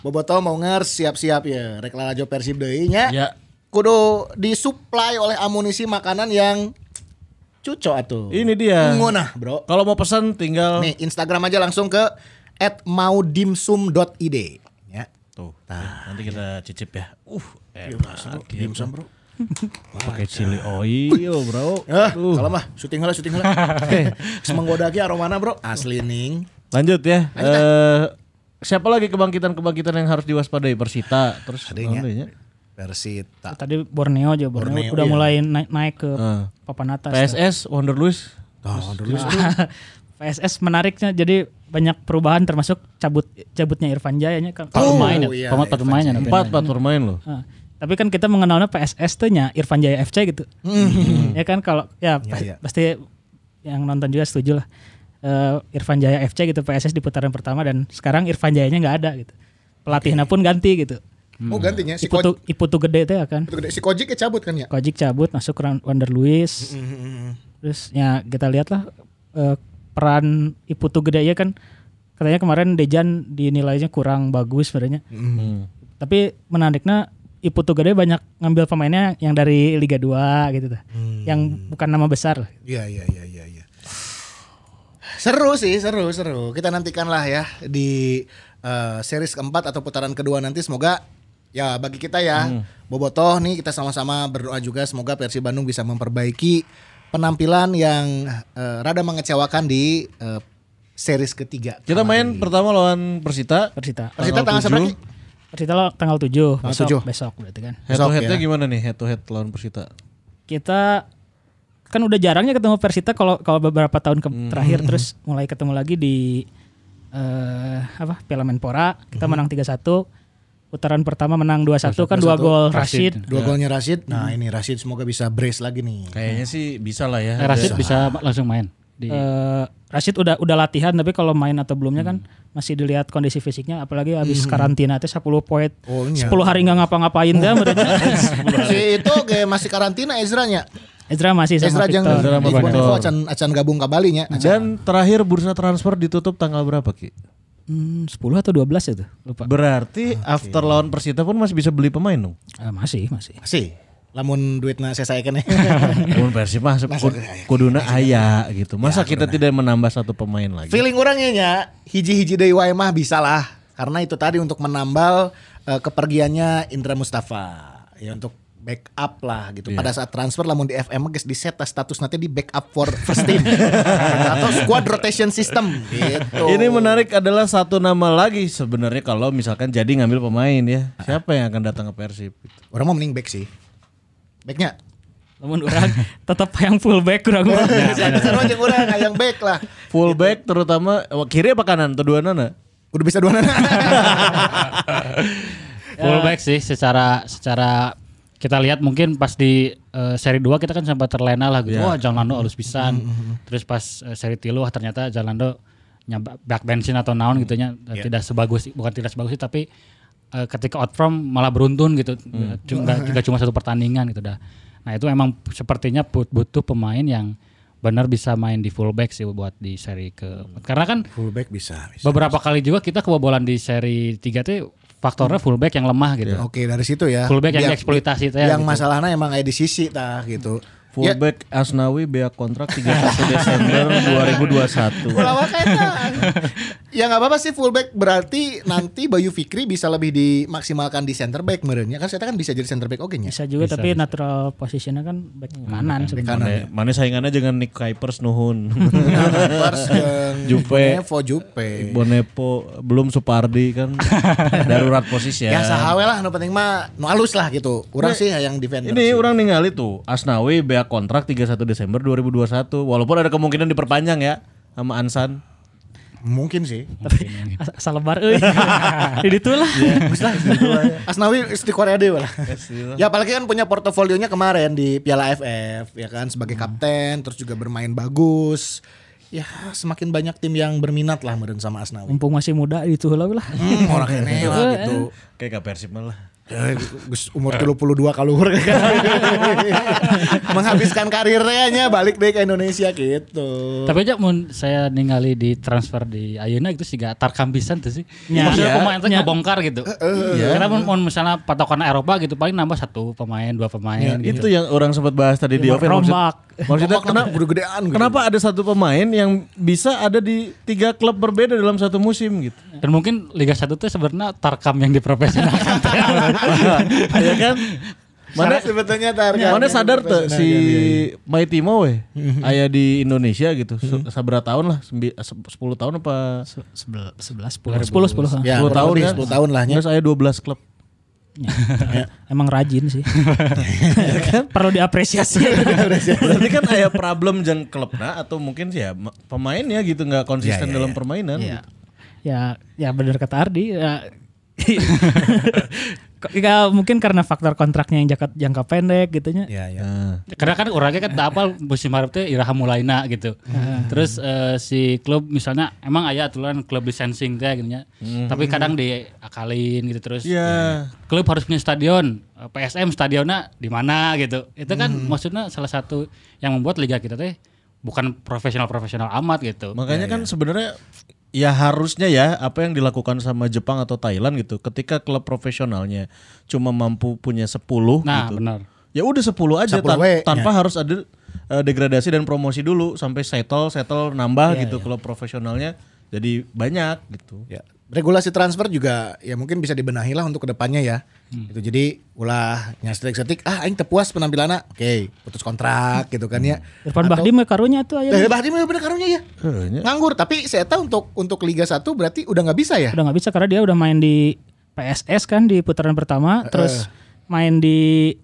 Speaker 3: Boboto mau nger siap-siap ya. Rek lalajo Persib deui nya.
Speaker 2: Ya.
Speaker 3: Kudu disuplai oleh amunisi makanan yang cuco atuh.
Speaker 2: Ini dia. Oh.
Speaker 3: Ngunah, Bro.
Speaker 2: Kalau mau pesan tinggal
Speaker 3: Nih, Instagram aja langsung ke @maudimsum.id ya.
Speaker 2: Tuh. Nanti kita cicip ya. Uh,
Speaker 3: Iya,
Speaker 2: enak.
Speaker 3: Dimsum, Bro.
Speaker 2: Pakai chili oil, Bro.
Speaker 3: Eh,
Speaker 2: Aduh.
Speaker 3: kalau mah syuting heula syuting
Speaker 2: *laughs*
Speaker 3: heula. Semenggoda ge aromana, Bro. Asli ning.
Speaker 2: Lanjut ya. Eh siapa lagi kebangkitan-kebangkitan yang harus diwaspadai Persita terus
Speaker 3: Adanya.
Speaker 2: lawannya?
Speaker 3: Persita.
Speaker 4: tadi Borneo aja Borneo,
Speaker 3: Borneo,
Speaker 4: udah
Speaker 3: iya.
Speaker 4: mulai naik naik ke
Speaker 2: Eh.
Speaker 4: papan atas *laughs*
Speaker 2: PSS Wonder Luis.
Speaker 3: Oh, dulu
Speaker 4: PSS menariknya jadi banyak perubahan termasuk cabut cabutnya Irfan Jaya nya kan
Speaker 5: Empat
Speaker 3: Oh,
Speaker 5: pemain ya.
Speaker 3: iya,
Speaker 5: Pemain- empat
Speaker 3: Irfan
Speaker 5: pemain ya. nanti.
Speaker 2: Empat empat bermain loh.
Speaker 4: Ah, tapi kan kita mengenalnya PSS tuh nya Irfan Jaya FC gitu. *laughs* ya kan kalau ya, pa-
Speaker 3: Hmm. iya.
Speaker 4: pasti yang nonton juga setuju lah. Eh, Irfan Jaya FC gitu PSS di putaran pertama dan sekarang Irfan Jayanya nggak ada gitu. Pelatihnya pun ganti gitu.
Speaker 3: Oh, gantinya si
Speaker 4: Iputu Iputu gede teh ya kan.
Speaker 3: Itu gede. Si Kojik ya cabut kan ya?
Speaker 4: Kojik cabut masuk Ran- Wander Luis.
Speaker 3: Mm-hmm,
Speaker 4: Terus ya kita lihat lah eh, peran Iputu gede ya kan katanya kemarin Dejan dinilainya kurang bagus sebenarnya.
Speaker 3: Mm. Hmm.
Speaker 2: Hmm.
Speaker 4: Tapi menariknya Iputu gede banyak ngambil pemainnya yang dari Liga 2 gitu tuh.
Speaker 3: Hmm.
Speaker 4: Yang bukan nama besar.
Speaker 3: Iya iya iya iya. iya. Seru sih, seru seru. Kita nantikanlah ya di eh, series keempat atau putaran kedua nanti semoga ya bagi kita ya Bobotoh nih kita sama-sama berdoa juga semoga Persi Bandung bisa memperbaiki penampilan yang eh, rada mengecewakan di eh, series ketiga.
Speaker 2: Kita main pertama lawan Persita.
Speaker 4: Persita.
Speaker 3: Persita tanggal seberapa? Ki?
Speaker 4: Persita lo tanggal 7
Speaker 3: Tanggal
Speaker 4: besok,
Speaker 3: 7.
Speaker 4: besok berarti kan.
Speaker 2: Head to
Speaker 3: Besok
Speaker 2: headnya
Speaker 3: ya.
Speaker 2: gimana nih head to head lawan Persita?
Speaker 4: Kita kan udah jarangnya ketemu Persita kalau kalau beberapa tahun ke- terakhir terus mulai ketemu lagi di eh apa Piala Menpora kita menang 3-1 putaran pertama menang 2-1 kan dua
Speaker 3: 2-1.
Speaker 4: gol Rashid
Speaker 3: Dua golnya Rashid. Nah, ini Rashid semoga bisa brace lagi nih.
Speaker 2: Kayaknya sih bisa lah ya.
Speaker 5: Eh,
Speaker 3: Iya.
Speaker 5: Rashid bisa langsung main di
Speaker 4: eh Rashid udah udah latihan tapi kalau main atau belumnya kan masih dilihat kondisi fisiknya apalagi habis karantina itu 10 poin
Speaker 3: Oh,
Speaker 4: 10
Speaker 3: iya.
Speaker 4: hari nggak ngapa-ngapain dah mereka.
Speaker 3: *laughs* si itu ge masih karantina Ezra-nya.
Speaker 4: Ezra masih Iya,
Speaker 3: Ezra
Speaker 4: sama Victor.
Speaker 3: jeung
Speaker 2: Ezra sama
Speaker 3: Ibu
Speaker 2: Victor. Iya.
Speaker 3: Nevo acan acan gabung Nah, ke Bali nya. Acan.
Speaker 2: Dan terakhir bursa transfer ditutup tanggal berapa Ki?
Speaker 4: Hmm, 10 atau 12 itu lupa
Speaker 2: Berarti
Speaker 3: Ah,
Speaker 2: after lawan Persita pun masih bisa beli pemain
Speaker 3: *laughs*
Speaker 2: dong.
Speaker 4: Eh, masih masih
Speaker 3: Sih, lamun duitna saya saekeun ya.
Speaker 2: Mun Persib mah se- kud- kuduna aya gitu. Masa
Speaker 3: Ya,
Speaker 2: kita tidak menambah satu pemain lagi?
Speaker 3: Feeling orangnya nya hiji-hiji deui wae mah bisa lah. Karena itu tadi untuk menambal eh, kepergiannya Indra Mustafa. Ya untuk backup lah gitu. Pada saat transfer lamun di FM guys di set status nanti di backup for first team atau squad rotation system gitu.
Speaker 2: Ini menarik adalah satu nama lagi sebenarnya kalau misalkan jadi ngambil pemain ya. Siapa yang akan datang ke Persib?
Speaker 3: Orang mau mending back sih. Backnya
Speaker 4: namun orang tetap yang fullback kurang
Speaker 3: *laughs* Seru aja kurang yang back lah.
Speaker 2: Fullback terutama eh, kiri apa kanan? ya? Kedua
Speaker 3: Ya.
Speaker 2: nana.
Speaker 3: Udah bisa dua nana.
Speaker 5: fullback sih secara secara kita lihat mungkin pas di eh, seri 2 kita kan sempat terlena lah gitu.
Speaker 2: Iya.
Speaker 5: Wah, John Lando halus pisan. Terus pas eh, seri 3 wah ternyata John Lando nyabak back bensin atau naon gitu nya eh, tidak sebagus bukan tidak sebagus sih, tapi eh, ketika out from malah beruntun gitu. Cuma nggak cuma satu pertandingan gitu dah. Nah, itu emang sepertinya but- butuh pemain yang benar bisa main di fullback sih buat di seri ke karena kan
Speaker 3: *laughs* Fullback bisa. bisa.
Speaker 5: beberapa kali juga kita kebobolan di seri 3 tuh faktornya fullback yang lemah gitu.
Speaker 3: Oke dari situ ya.
Speaker 5: Fullback yang
Speaker 3: Biar-
Speaker 5: dieksploitasi teh,
Speaker 3: Yang
Speaker 5: gitu.
Speaker 3: masalahnya emang kayak di sisi tah gitu. Ya,
Speaker 2: *laughs* Fullback Asnawi bea kontrak 31 Desember 2021.
Speaker 3: Ulama kata. *laughs* ya nggak apa-apa sih fullback berarti nanti Bayu Fikri bisa lebih dimaksimalkan di center back merenya kan saya kan bisa jadi center back oke nya.
Speaker 4: Ya, Bisa juga tapi natural positionnya kan back kanan sebenarnya.
Speaker 2: Mana, mana Eh, saingannya dengan Nick Kuipers
Speaker 3: *laughs*
Speaker 2: nuhun. Jupe.
Speaker 3: Jupe. Nah, Nevo Jupe.
Speaker 2: Bonepo belum Supardi
Speaker 3: *laughs*
Speaker 2: kan darurat posisi
Speaker 3: Ya
Speaker 2: ya.
Speaker 3: sahawe lah no penting mah no halus lah gitu. Urang sih yang defender.
Speaker 2: Ini
Speaker 3: Iya sih.
Speaker 2: orang ningali tuh Asnawi bea kontrak 31 Desember 2021 walaupun ada kemungkinan diperpanjang ya sama Ansan.
Speaker 3: mungkin sih.
Speaker 4: Tapi as- asal lebar *laughs* euy. Jadi itulah.
Speaker 3: Asnawi is di Korea Dewa lah. ya apalagi kan punya portofolionya kemarin di Piala AFF ya kan sebagai kapten terus juga bermain bagus. Ya semakin banyak tim yang berminat lah meren sama Asnawi.
Speaker 4: Mumpung masih muda itu lah lah.
Speaker 3: Hmm, orang kene lah gitu.
Speaker 2: Eh? Kayak gak Persib malah.
Speaker 3: Eh, Gus umur 32 kaluhur *laughs* menghabiskan karirnya nya, balik deh ke Indonesia gitu.
Speaker 5: Tapi aja mun saya ningali di transfer di Ayeuna itu sih gak tarkambisan tuh sih.
Speaker 4: Nya.
Speaker 5: Maksudnya
Speaker 4: Iya.
Speaker 5: pemain tuh
Speaker 4: Nya.
Speaker 5: ngebongkar gitu. Karena mun, mun misalnya patokan Eropa gitu paling nambah satu pemain, dua pemain gitu.
Speaker 2: Nah, Itu yang orang sempat bahas tadi di
Speaker 4: Timur
Speaker 2: open maksud-
Speaker 4: Rombak.
Speaker 2: Maksudnya
Speaker 3: Rombak
Speaker 2: kenapa
Speaker 3: tapi gede-gedean gitu.
Speaker 2: Kenapa ada satu pemain yang bisa ada di tiga klub berbeda dalam satu musim *laughs* gitu?
Speaker 5: Dan mungkin Liga 1 tuh sebenarnya tarkam yang diprofesionalkan.
Speaker 2: ya kan? Mana
Speaker 3: Mana sebetulnya kan? target?
Speaker 2: mana sadar tuh si Mighty Mo weh aya di Indonesia gitu. se- Sabra tahun lah, sembi- se- 10 tahun apa
Speaker 4: 11 10 10 10.
Speaker 3: Ya,
Speaker 2: 10 tahun
Speaker 3: kurang lebih
Speaker 2: kan?
Speaker 3: 10 tahun lah nya.
Speaker 2: Terus aya 12 klub.
Speaker 4: Ya. Emang rajin *laughs* sih. Perlu diapresiasi.
Speaker 2: *laughs* Berarti kan aya problem jeung klubna atau mungkin sih ya ma- pemainnya gitu nggak konsisten dalam permainan. gitu.
Speaker 4: Iya. ya ya benar kata Ardi ya. *laughs* Kok- ya, mungkin karena faktor kontraknya yang jangka, jangka pendek gitu nya.
Speaker 3: Ya, ya.
Speaker 5: Karena kan orangnya kan tak apal musim harap teh Iraha Mulaina gitu. Terus eh, si klub misalnya emang aya aturan klub licensing teh gitu nya. Tapi kadang diakalin gitu terus.
Speaker 2: Iya.
Speaker 5: klub harus punya stadion Eh, PSM stadionnya di mana gitu itu kan maksudnya salah satu yang membuat liga kita teh bukan profesional profesional amat gitu
Speaker 2: Makanya kan sebenarnya ya harusnya ya apa yang dilakukan sama Jepang atau Thailand gitu ketika klub profesionalnya cuma mampu punya 10
Speaker 5: nah
Speaker 2: gitu.
Speaker 5: benar
Speaker 2: Ya udah 10 aja
Speaker 3: 10
Speaker 2: tan-
Speaker 3: we,
Speaker 2: tanpa harus ada eh, degradasi dan promosi dulu sampai settle settle nambah gitu klub profesionalnya jadi banyak gitu.
Speaker 3: Ya. Regulasi transfer juga ya mungkin bisa dibenahi lah untuk kedepannya ya.
Speaker 4: Hmm.
Speaker 3: Itu jadi ulah nyastrik setik ah aing tepuas penampilannya. Oke, putus kontrak gitu kan ya.
Speaker 4: Hmm. Irfan Bahdi mah karunya tuh
Speaker 3: Eh,
Speaker 4: aja.
Speaker 3: Bahdim bener karunya ya.
Speaker 2: Kayaknya.
Speaker 3: Nganggur tapi saya tahu untuk untuk Liga 1 berarti udah nggak bisa ya.
Speaker 4: Udah nggak bisa karena dia udah main di PSS kan di putaran pertama, terus main di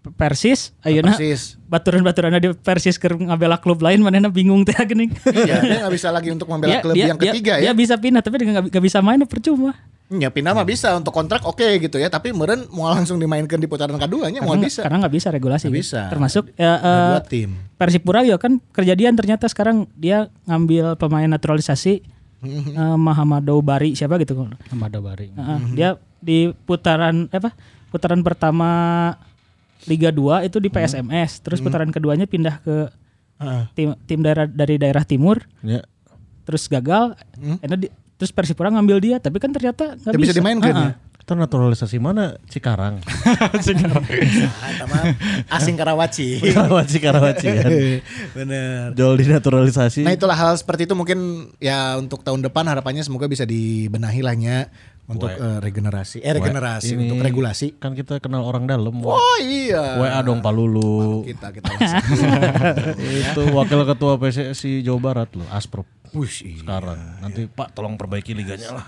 Speaker 4: Persis, ayeuna
Speaker 3: Persis.
Speaker 4: baturan-baturan di Persis ke ngabela klub lain mana bingung teh geuning.
Speaker 3: Iya, dia nggak bisa lagi untuk membela klub yang ketiga
Speaker 4: dia
Speaker 3: ya.
Speaker 4: bisa pindah tapi dia nggak nggak bisa main percuma.
Speaker 3: Ya pindah mah bisa untuk kontrak oke gitu ya, tapi meren mau langsung dimainkan di putaran keduanya mau
Speaker 4: Karena nggak-
Speaker 3: bisa.
Speaker 4: Karena nggak bisa regulasi.
Speaker 3: Nggak
Speaker 4: gitu.
Speaker 3: bisa.
Speaker 4: Termasuk ya,
Speaker 3: Ada
Speaker 4: eh,
Speaker 3: dua tim.
Speaker 4: Persipura ya kan kejadian ternyata sekarang dia ngambil pemain
Speaker 3: *laughs*
Speaker 4: naturalisasi eh, Mahamadou Bari siapa gitu.
Speaker 5: sama ada bari
Speaker 4: Heeh, Dia di putaran eh, apa? Putaran pertama Liga 2 itu di PSMS, terus putaran keduanya pindah ke tim tim daerah dari daerah timur,
Speaker 2: Ya.
Speaker 4: terus gagal. akhirnya di- terus Persipura ngambil dia, Mhm. tapi kan ternyata nggak
Speaker 3: Nggak bisa
Speaker 4: bisa.
Speaker 3: dimainkan ya.
Speaker 4: Heeh.
Speaker 2: Kita naturalisasi mana *laughs* Cikarang?
Speaker 3: Ah, eta mah asing
Speaker 4: *laughs*
Speaker 3: Karawaci.
Speaker 2: Karawaci Karawaci Iya, *laughs* kan.
Speaker 3: Bener.
Speaker 2: Jol dinaturalisasi.
Speaker 3: Nah itulah hal seperti itu mungkin ya untuk tahun depan harapannya semoga bisa dibenahi lahnya untuk eh, regenerasi, eh regenerasi
Speaker 2: Ini
Speaker 3: untuk regulasi.
Speaker 2: Kan kita kenal orang dalam.
Speaker 3: Oh iya.
Speaker 2: WA dong Palulu.
Speaker 3: Kita kita. langsung.
Speaker 2: *laughs* itu wakil ketua PSSI Jawa Barat loh, Asprop.
Speaker 3: Wih, iya.
Speaker 2: Sekarang nanti Pak tolong perbaiki liganya lah.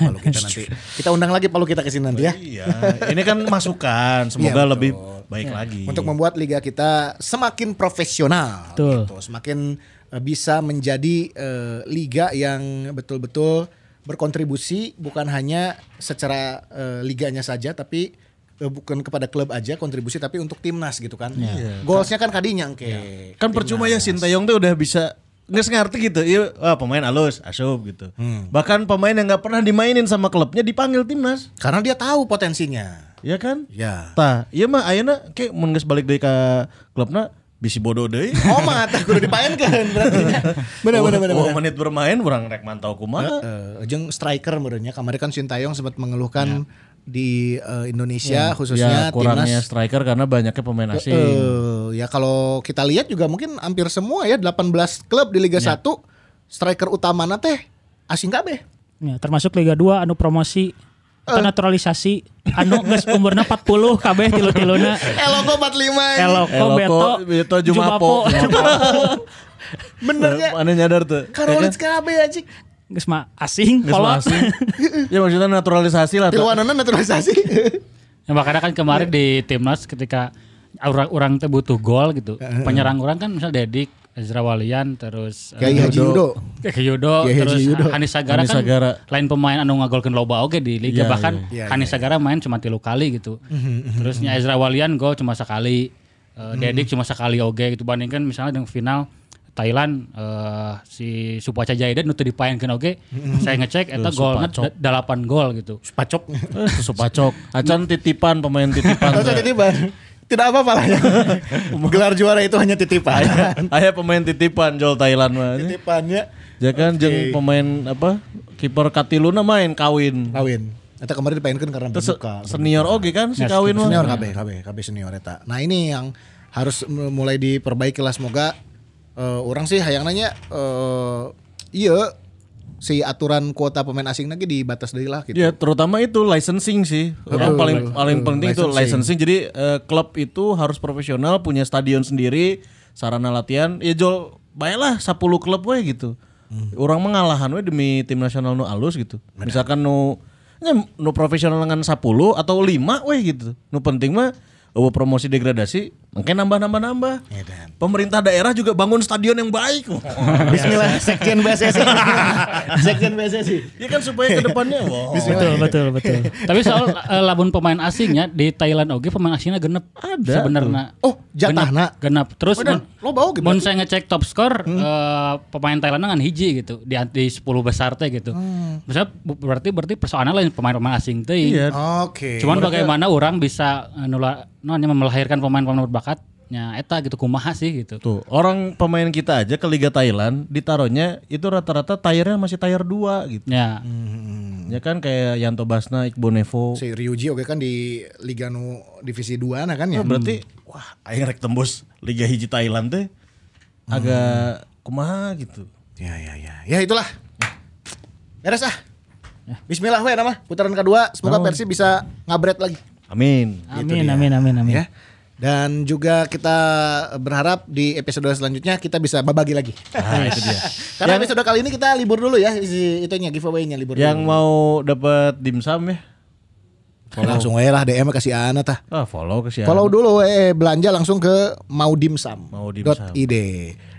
Speaker 3: Palu kita nanti kita undang lagi Palu kita ke sini nanti ya.
Speaker 2: Iya, ini kan masukan, semoga lebih baik lagi.
Speaker 3: Untuk membuat liga kita semakin profesional
Speaker 4: Betul.
Speaker 3: gitu, semakin eh, bisa menjadi eh, liga yang betul-betul berkontribusi bukan hanya secara eh, liganya saja tapi eh, bukan kepada klub aja kontribusi tapi untuk timnas gitu kan. Goalsnya kan kadinya engke.
Speaker 2: Iya. Kan percuma ya Sintayong tuh udah bisa nggak ngerti gitu. Iya, wah, pemain alus, asup gitu. Bahkan pemain yang nggak pernah dimainin sama klubnya dipanggil timnas.
Speaker 3: Karena dia tahu potensinya.
Speaker 2: Ya kan?
Speaker 3: Ya.
Speaker 2: Tah, ya. iya mah ayeuna kayak mun geus balik deui ka klubna bisi bodoh deui.
Speaker 3: Omat, kudu dipaenkeun
Speaker 2: *laughs*
Speaker 3: berarti. nya. Bener bener bener.
Speaker 2: Wah,
Speaker 3: bener.
Speaker 2: menit bermain orang rek mantau kumaha.
Speaker 3: Eh, jeung striker menurutnya kemarin kan Sintayong sempat mengeluhkan di eh, Indonesia khususnya
Speaker 2: ya kurangnya
Speaker 3: timnas
Speaker 2: striker karena banyaknya pemain asing.
Speaker 3: Eh, ya kalau kita lihat juga mungkin hampir semua ya 18 klub di Liga 1 striker utamana teh asing kabeh.
Speaker 4: Ya, termasuk Liga 2 anu promosi atau naturalisasi anu geus umurna 40 kabeh tilu-tiluna.
Speaker 3: Eloko 45. ini.
Speaker 4: Eh, Eloko,
Speaker 2: Eloko,
Speaker 4: Beto,
Speaker 2: Beto, Jumapo.
Speaker 4: Jumapo.
Speaker 3: Benernya
Speaker 2: Mana nyadar tuh.
Speaker 3: Karolins kabeh anjing.
Speaker 4: Geus mah asing
Speaker 2: Nggak semua
Speaker 4: kolot. *laughs*
Speaker 2: asing. ya maksudnya naturalisasi lah. tuh.
Speaker 3: Tiluanana *laughs* naturalisasi.
Speaker 5: Ya, makanya kan kemarin di timnas ketika orang orang teh butuh gol gitu. Penyerang orang kan misal Dedik, Ezra Walian, terus eh,
Speaker 3: Kayak Haji Yudo.
Speaker 5: Kayak Yudo,
Speaker 3: Kiai Haji
Speaker 5: terus
Speaker 3: Iya, Yudo.
Speaker 5: Hanis Sagara
Speaker 2: Hanis
Speaker 5: kan
Speaker 2: Sagara.
Speaker 5: lain pemain anu ngagolkeun loba oge di liga
Speaker 2: Iya,
Speaker 5: bahkan
Speaker 3: iya. Mhm, Iya,
Speaker 5: Hanis Sagara main cuma tilu kali gitu. Terusnya Ezra Walian gol cuma sekali, Eh,
Speaker 3: Mhm.
Speaker 5: Dedik cuma sekali oge gitu bandingkan misalnya dengan final Thailand eh, si Supaca Jaidan nu teu dipaenkeun oge
Speaker 3: Mhm.
Speaker 5: saya ngecek eta golna da- dalapan gol gitu.
Speaker 3: Pacok.
Speaker 2: Eh, Susu pacok. Acan titipan pemain titipan.
Speaker 3: *laughs* Terus
Speaker 2: tuh.
Speaker 3: titipan. Tidak apa-apa lah *laughs* ya. Gelar juara itu hanya titipan.
Speaker 2: Aya pemain titipan Jol Thailand mah.
Speaker 3: *laughs* Titipannya
Speaker 2: Ya kan jeung pemain apa? Kiper Katiluna main kawin.
Speaker 3: kawin. Eta kemarin dipainkan karena
Speaker 2: Terus se-
Speaker 3: berduka.
Speaker 2: senior oge kan si kawin mah.
Speaker 3: Senior KB, KB, KB senior eta. Nah ini yang harus mulai diperbaiki lah semoga eh, orang sih hayang nanya eh, iya si aturan kuota pemain asing lagi dibatas deui lah gitu.
Speaker 2: Ya terutama itu licensing sih yang paling paling penting itu licensing. Jadi eh, klub itu harus profesional, punya stadion sendiri, sarana latihan. Ya jol baiklah 10 klub we gitu.
Speaker 3: Hmm.
Speaker 2: Orang mengalahan we demi tim nasional nu alus gitu. Misalkan nu nya nu profesional dengan 10 atau 5 we gitu. Nu penting mah eueuh promosi degradasi, mungkin nambah-nambah nambah.
Speaker 3: Ya, dan.
Speaker 2: Pemerintah daerah juga bangun stadion yang baik.
Speaker 3: *laughs* Bismillah sekjen *laughs* PSSI. sekjen PSSI.
Speaker 2: *laughs* ya kan supaya ke depannya wow.
Speaker 4: Betul, betul, betul.
Speaker 5: Tapi soal eh, lamun pemain asingnya di Thailand oge pemain asingnya genep
Speaker 2: Ada
Speaker 5: sebenarnya.
Speaker 3: Oh, jatahna.
Speaker 5: Genep, genep. Terus
Speaker 3: Udah,
Speaker 5: mun-
Speaker 3: lo bau Hmm.
Speaker 5: mun
Speaker 3: gitu.
Speaker 5: saya ngecek top skor eh, pemain Thailand kan hiji gitu di, di 10 besar teh gitu.
Speaker 3: Hmm.
Speaker 5: Maksudnya bu- berarti berarti persoalannya lain pemain-pemain asing teh.
Speaker 2: Iya.
Speaker 3: Oke.
Speaker 5: Cuman bagaimana orang bisa eh, nula, no, nya melahirkan pemain-pemain berbakatnya eta gitu kumaha sih gitu.
Speaker 2: Tuh, orang pemain kita aja ke Liga Thailand ditaruhnya itu rata-rata tayarnya masih tayar 2 gitu.
Speaker 5: Ya,
Speaker 2: Ya kan kayak Yanto Basna, Iqbo Nevo.
Speaker 3: si Ryuji oke kan di Liga nu divisi 2 nah kan ya.
Speaker 2: Berarti wah, aing rek tembus Liga Hiji Thailand teh agak kumaha gitu.
Speaker 3: Ya ya ya. Ya itulah. Beres ah. Bismillah we nama putaran kedua semoga Persi bisa ngabret lagi
Speaker 2: Amin.
Speaker 4: Amin, amin, amin, amin.
Speaker 3: ya. Dan juga kita berharap di episode selanjutnya kita bisa berbagi lagi.
Speaker 2: Nah, itu dia.
Speaker 3: Karena episode kali ini kita libur dulu ya isi itunya giveaway-nya libur
Speaker 2: Yang
Speaker 3: dulu.
Speaker 2: mau dapat dimsum ya,
Speaker 3: Langsung we lah DM kasih Ana tah.
Speaker 2: ah, follow ke siapa?
Speaker 3: Follow dulu eh belanja langsung ke maudimsam.id.
Speaker 2: Maudimsam.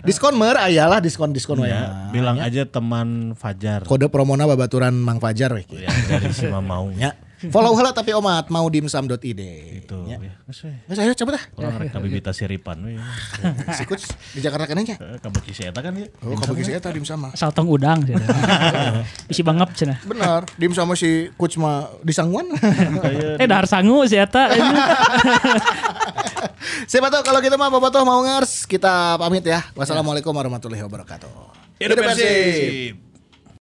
Speaker 3: Diskon mer ayalah diskon-diskon we.
Speaker 2: Ya, bilang aja teman Fajar.
Speaker 3: Kode promona babaturan Mang Fajar we.
Speaker 2: Ya, dari si Mamau.
Speaker 3: Ya. Follow heula tapi omat maudimsam.id.
Speaker 2: Gitu. Ya. Geus we.
Speaker 3: Nggak ayo coba dah.
Speaker 2: Orang rek kabibita siripan we.
Speaker 3: Si coach di Jakarta kenanya.
Speaker 2: Eh, Kabeki si eta kan ya.
Speaker 3: Oh, kamu kisah tadi sama.
Speaker 4: Saltong udang sih. Bisi bangap cenah.
Speaker 3: Benar, dim sama si coach mah di Sangwan. *laughs*
Speaker 4: Eh dahar sangu sih eta.
Speaker 3: Siapa tahu kalau kita mah bobotoh mau ngers, kita pamit ya. Wassalamualaikum warahmatullahi wabarakatuh.
Speaker 2: Hidup Persib.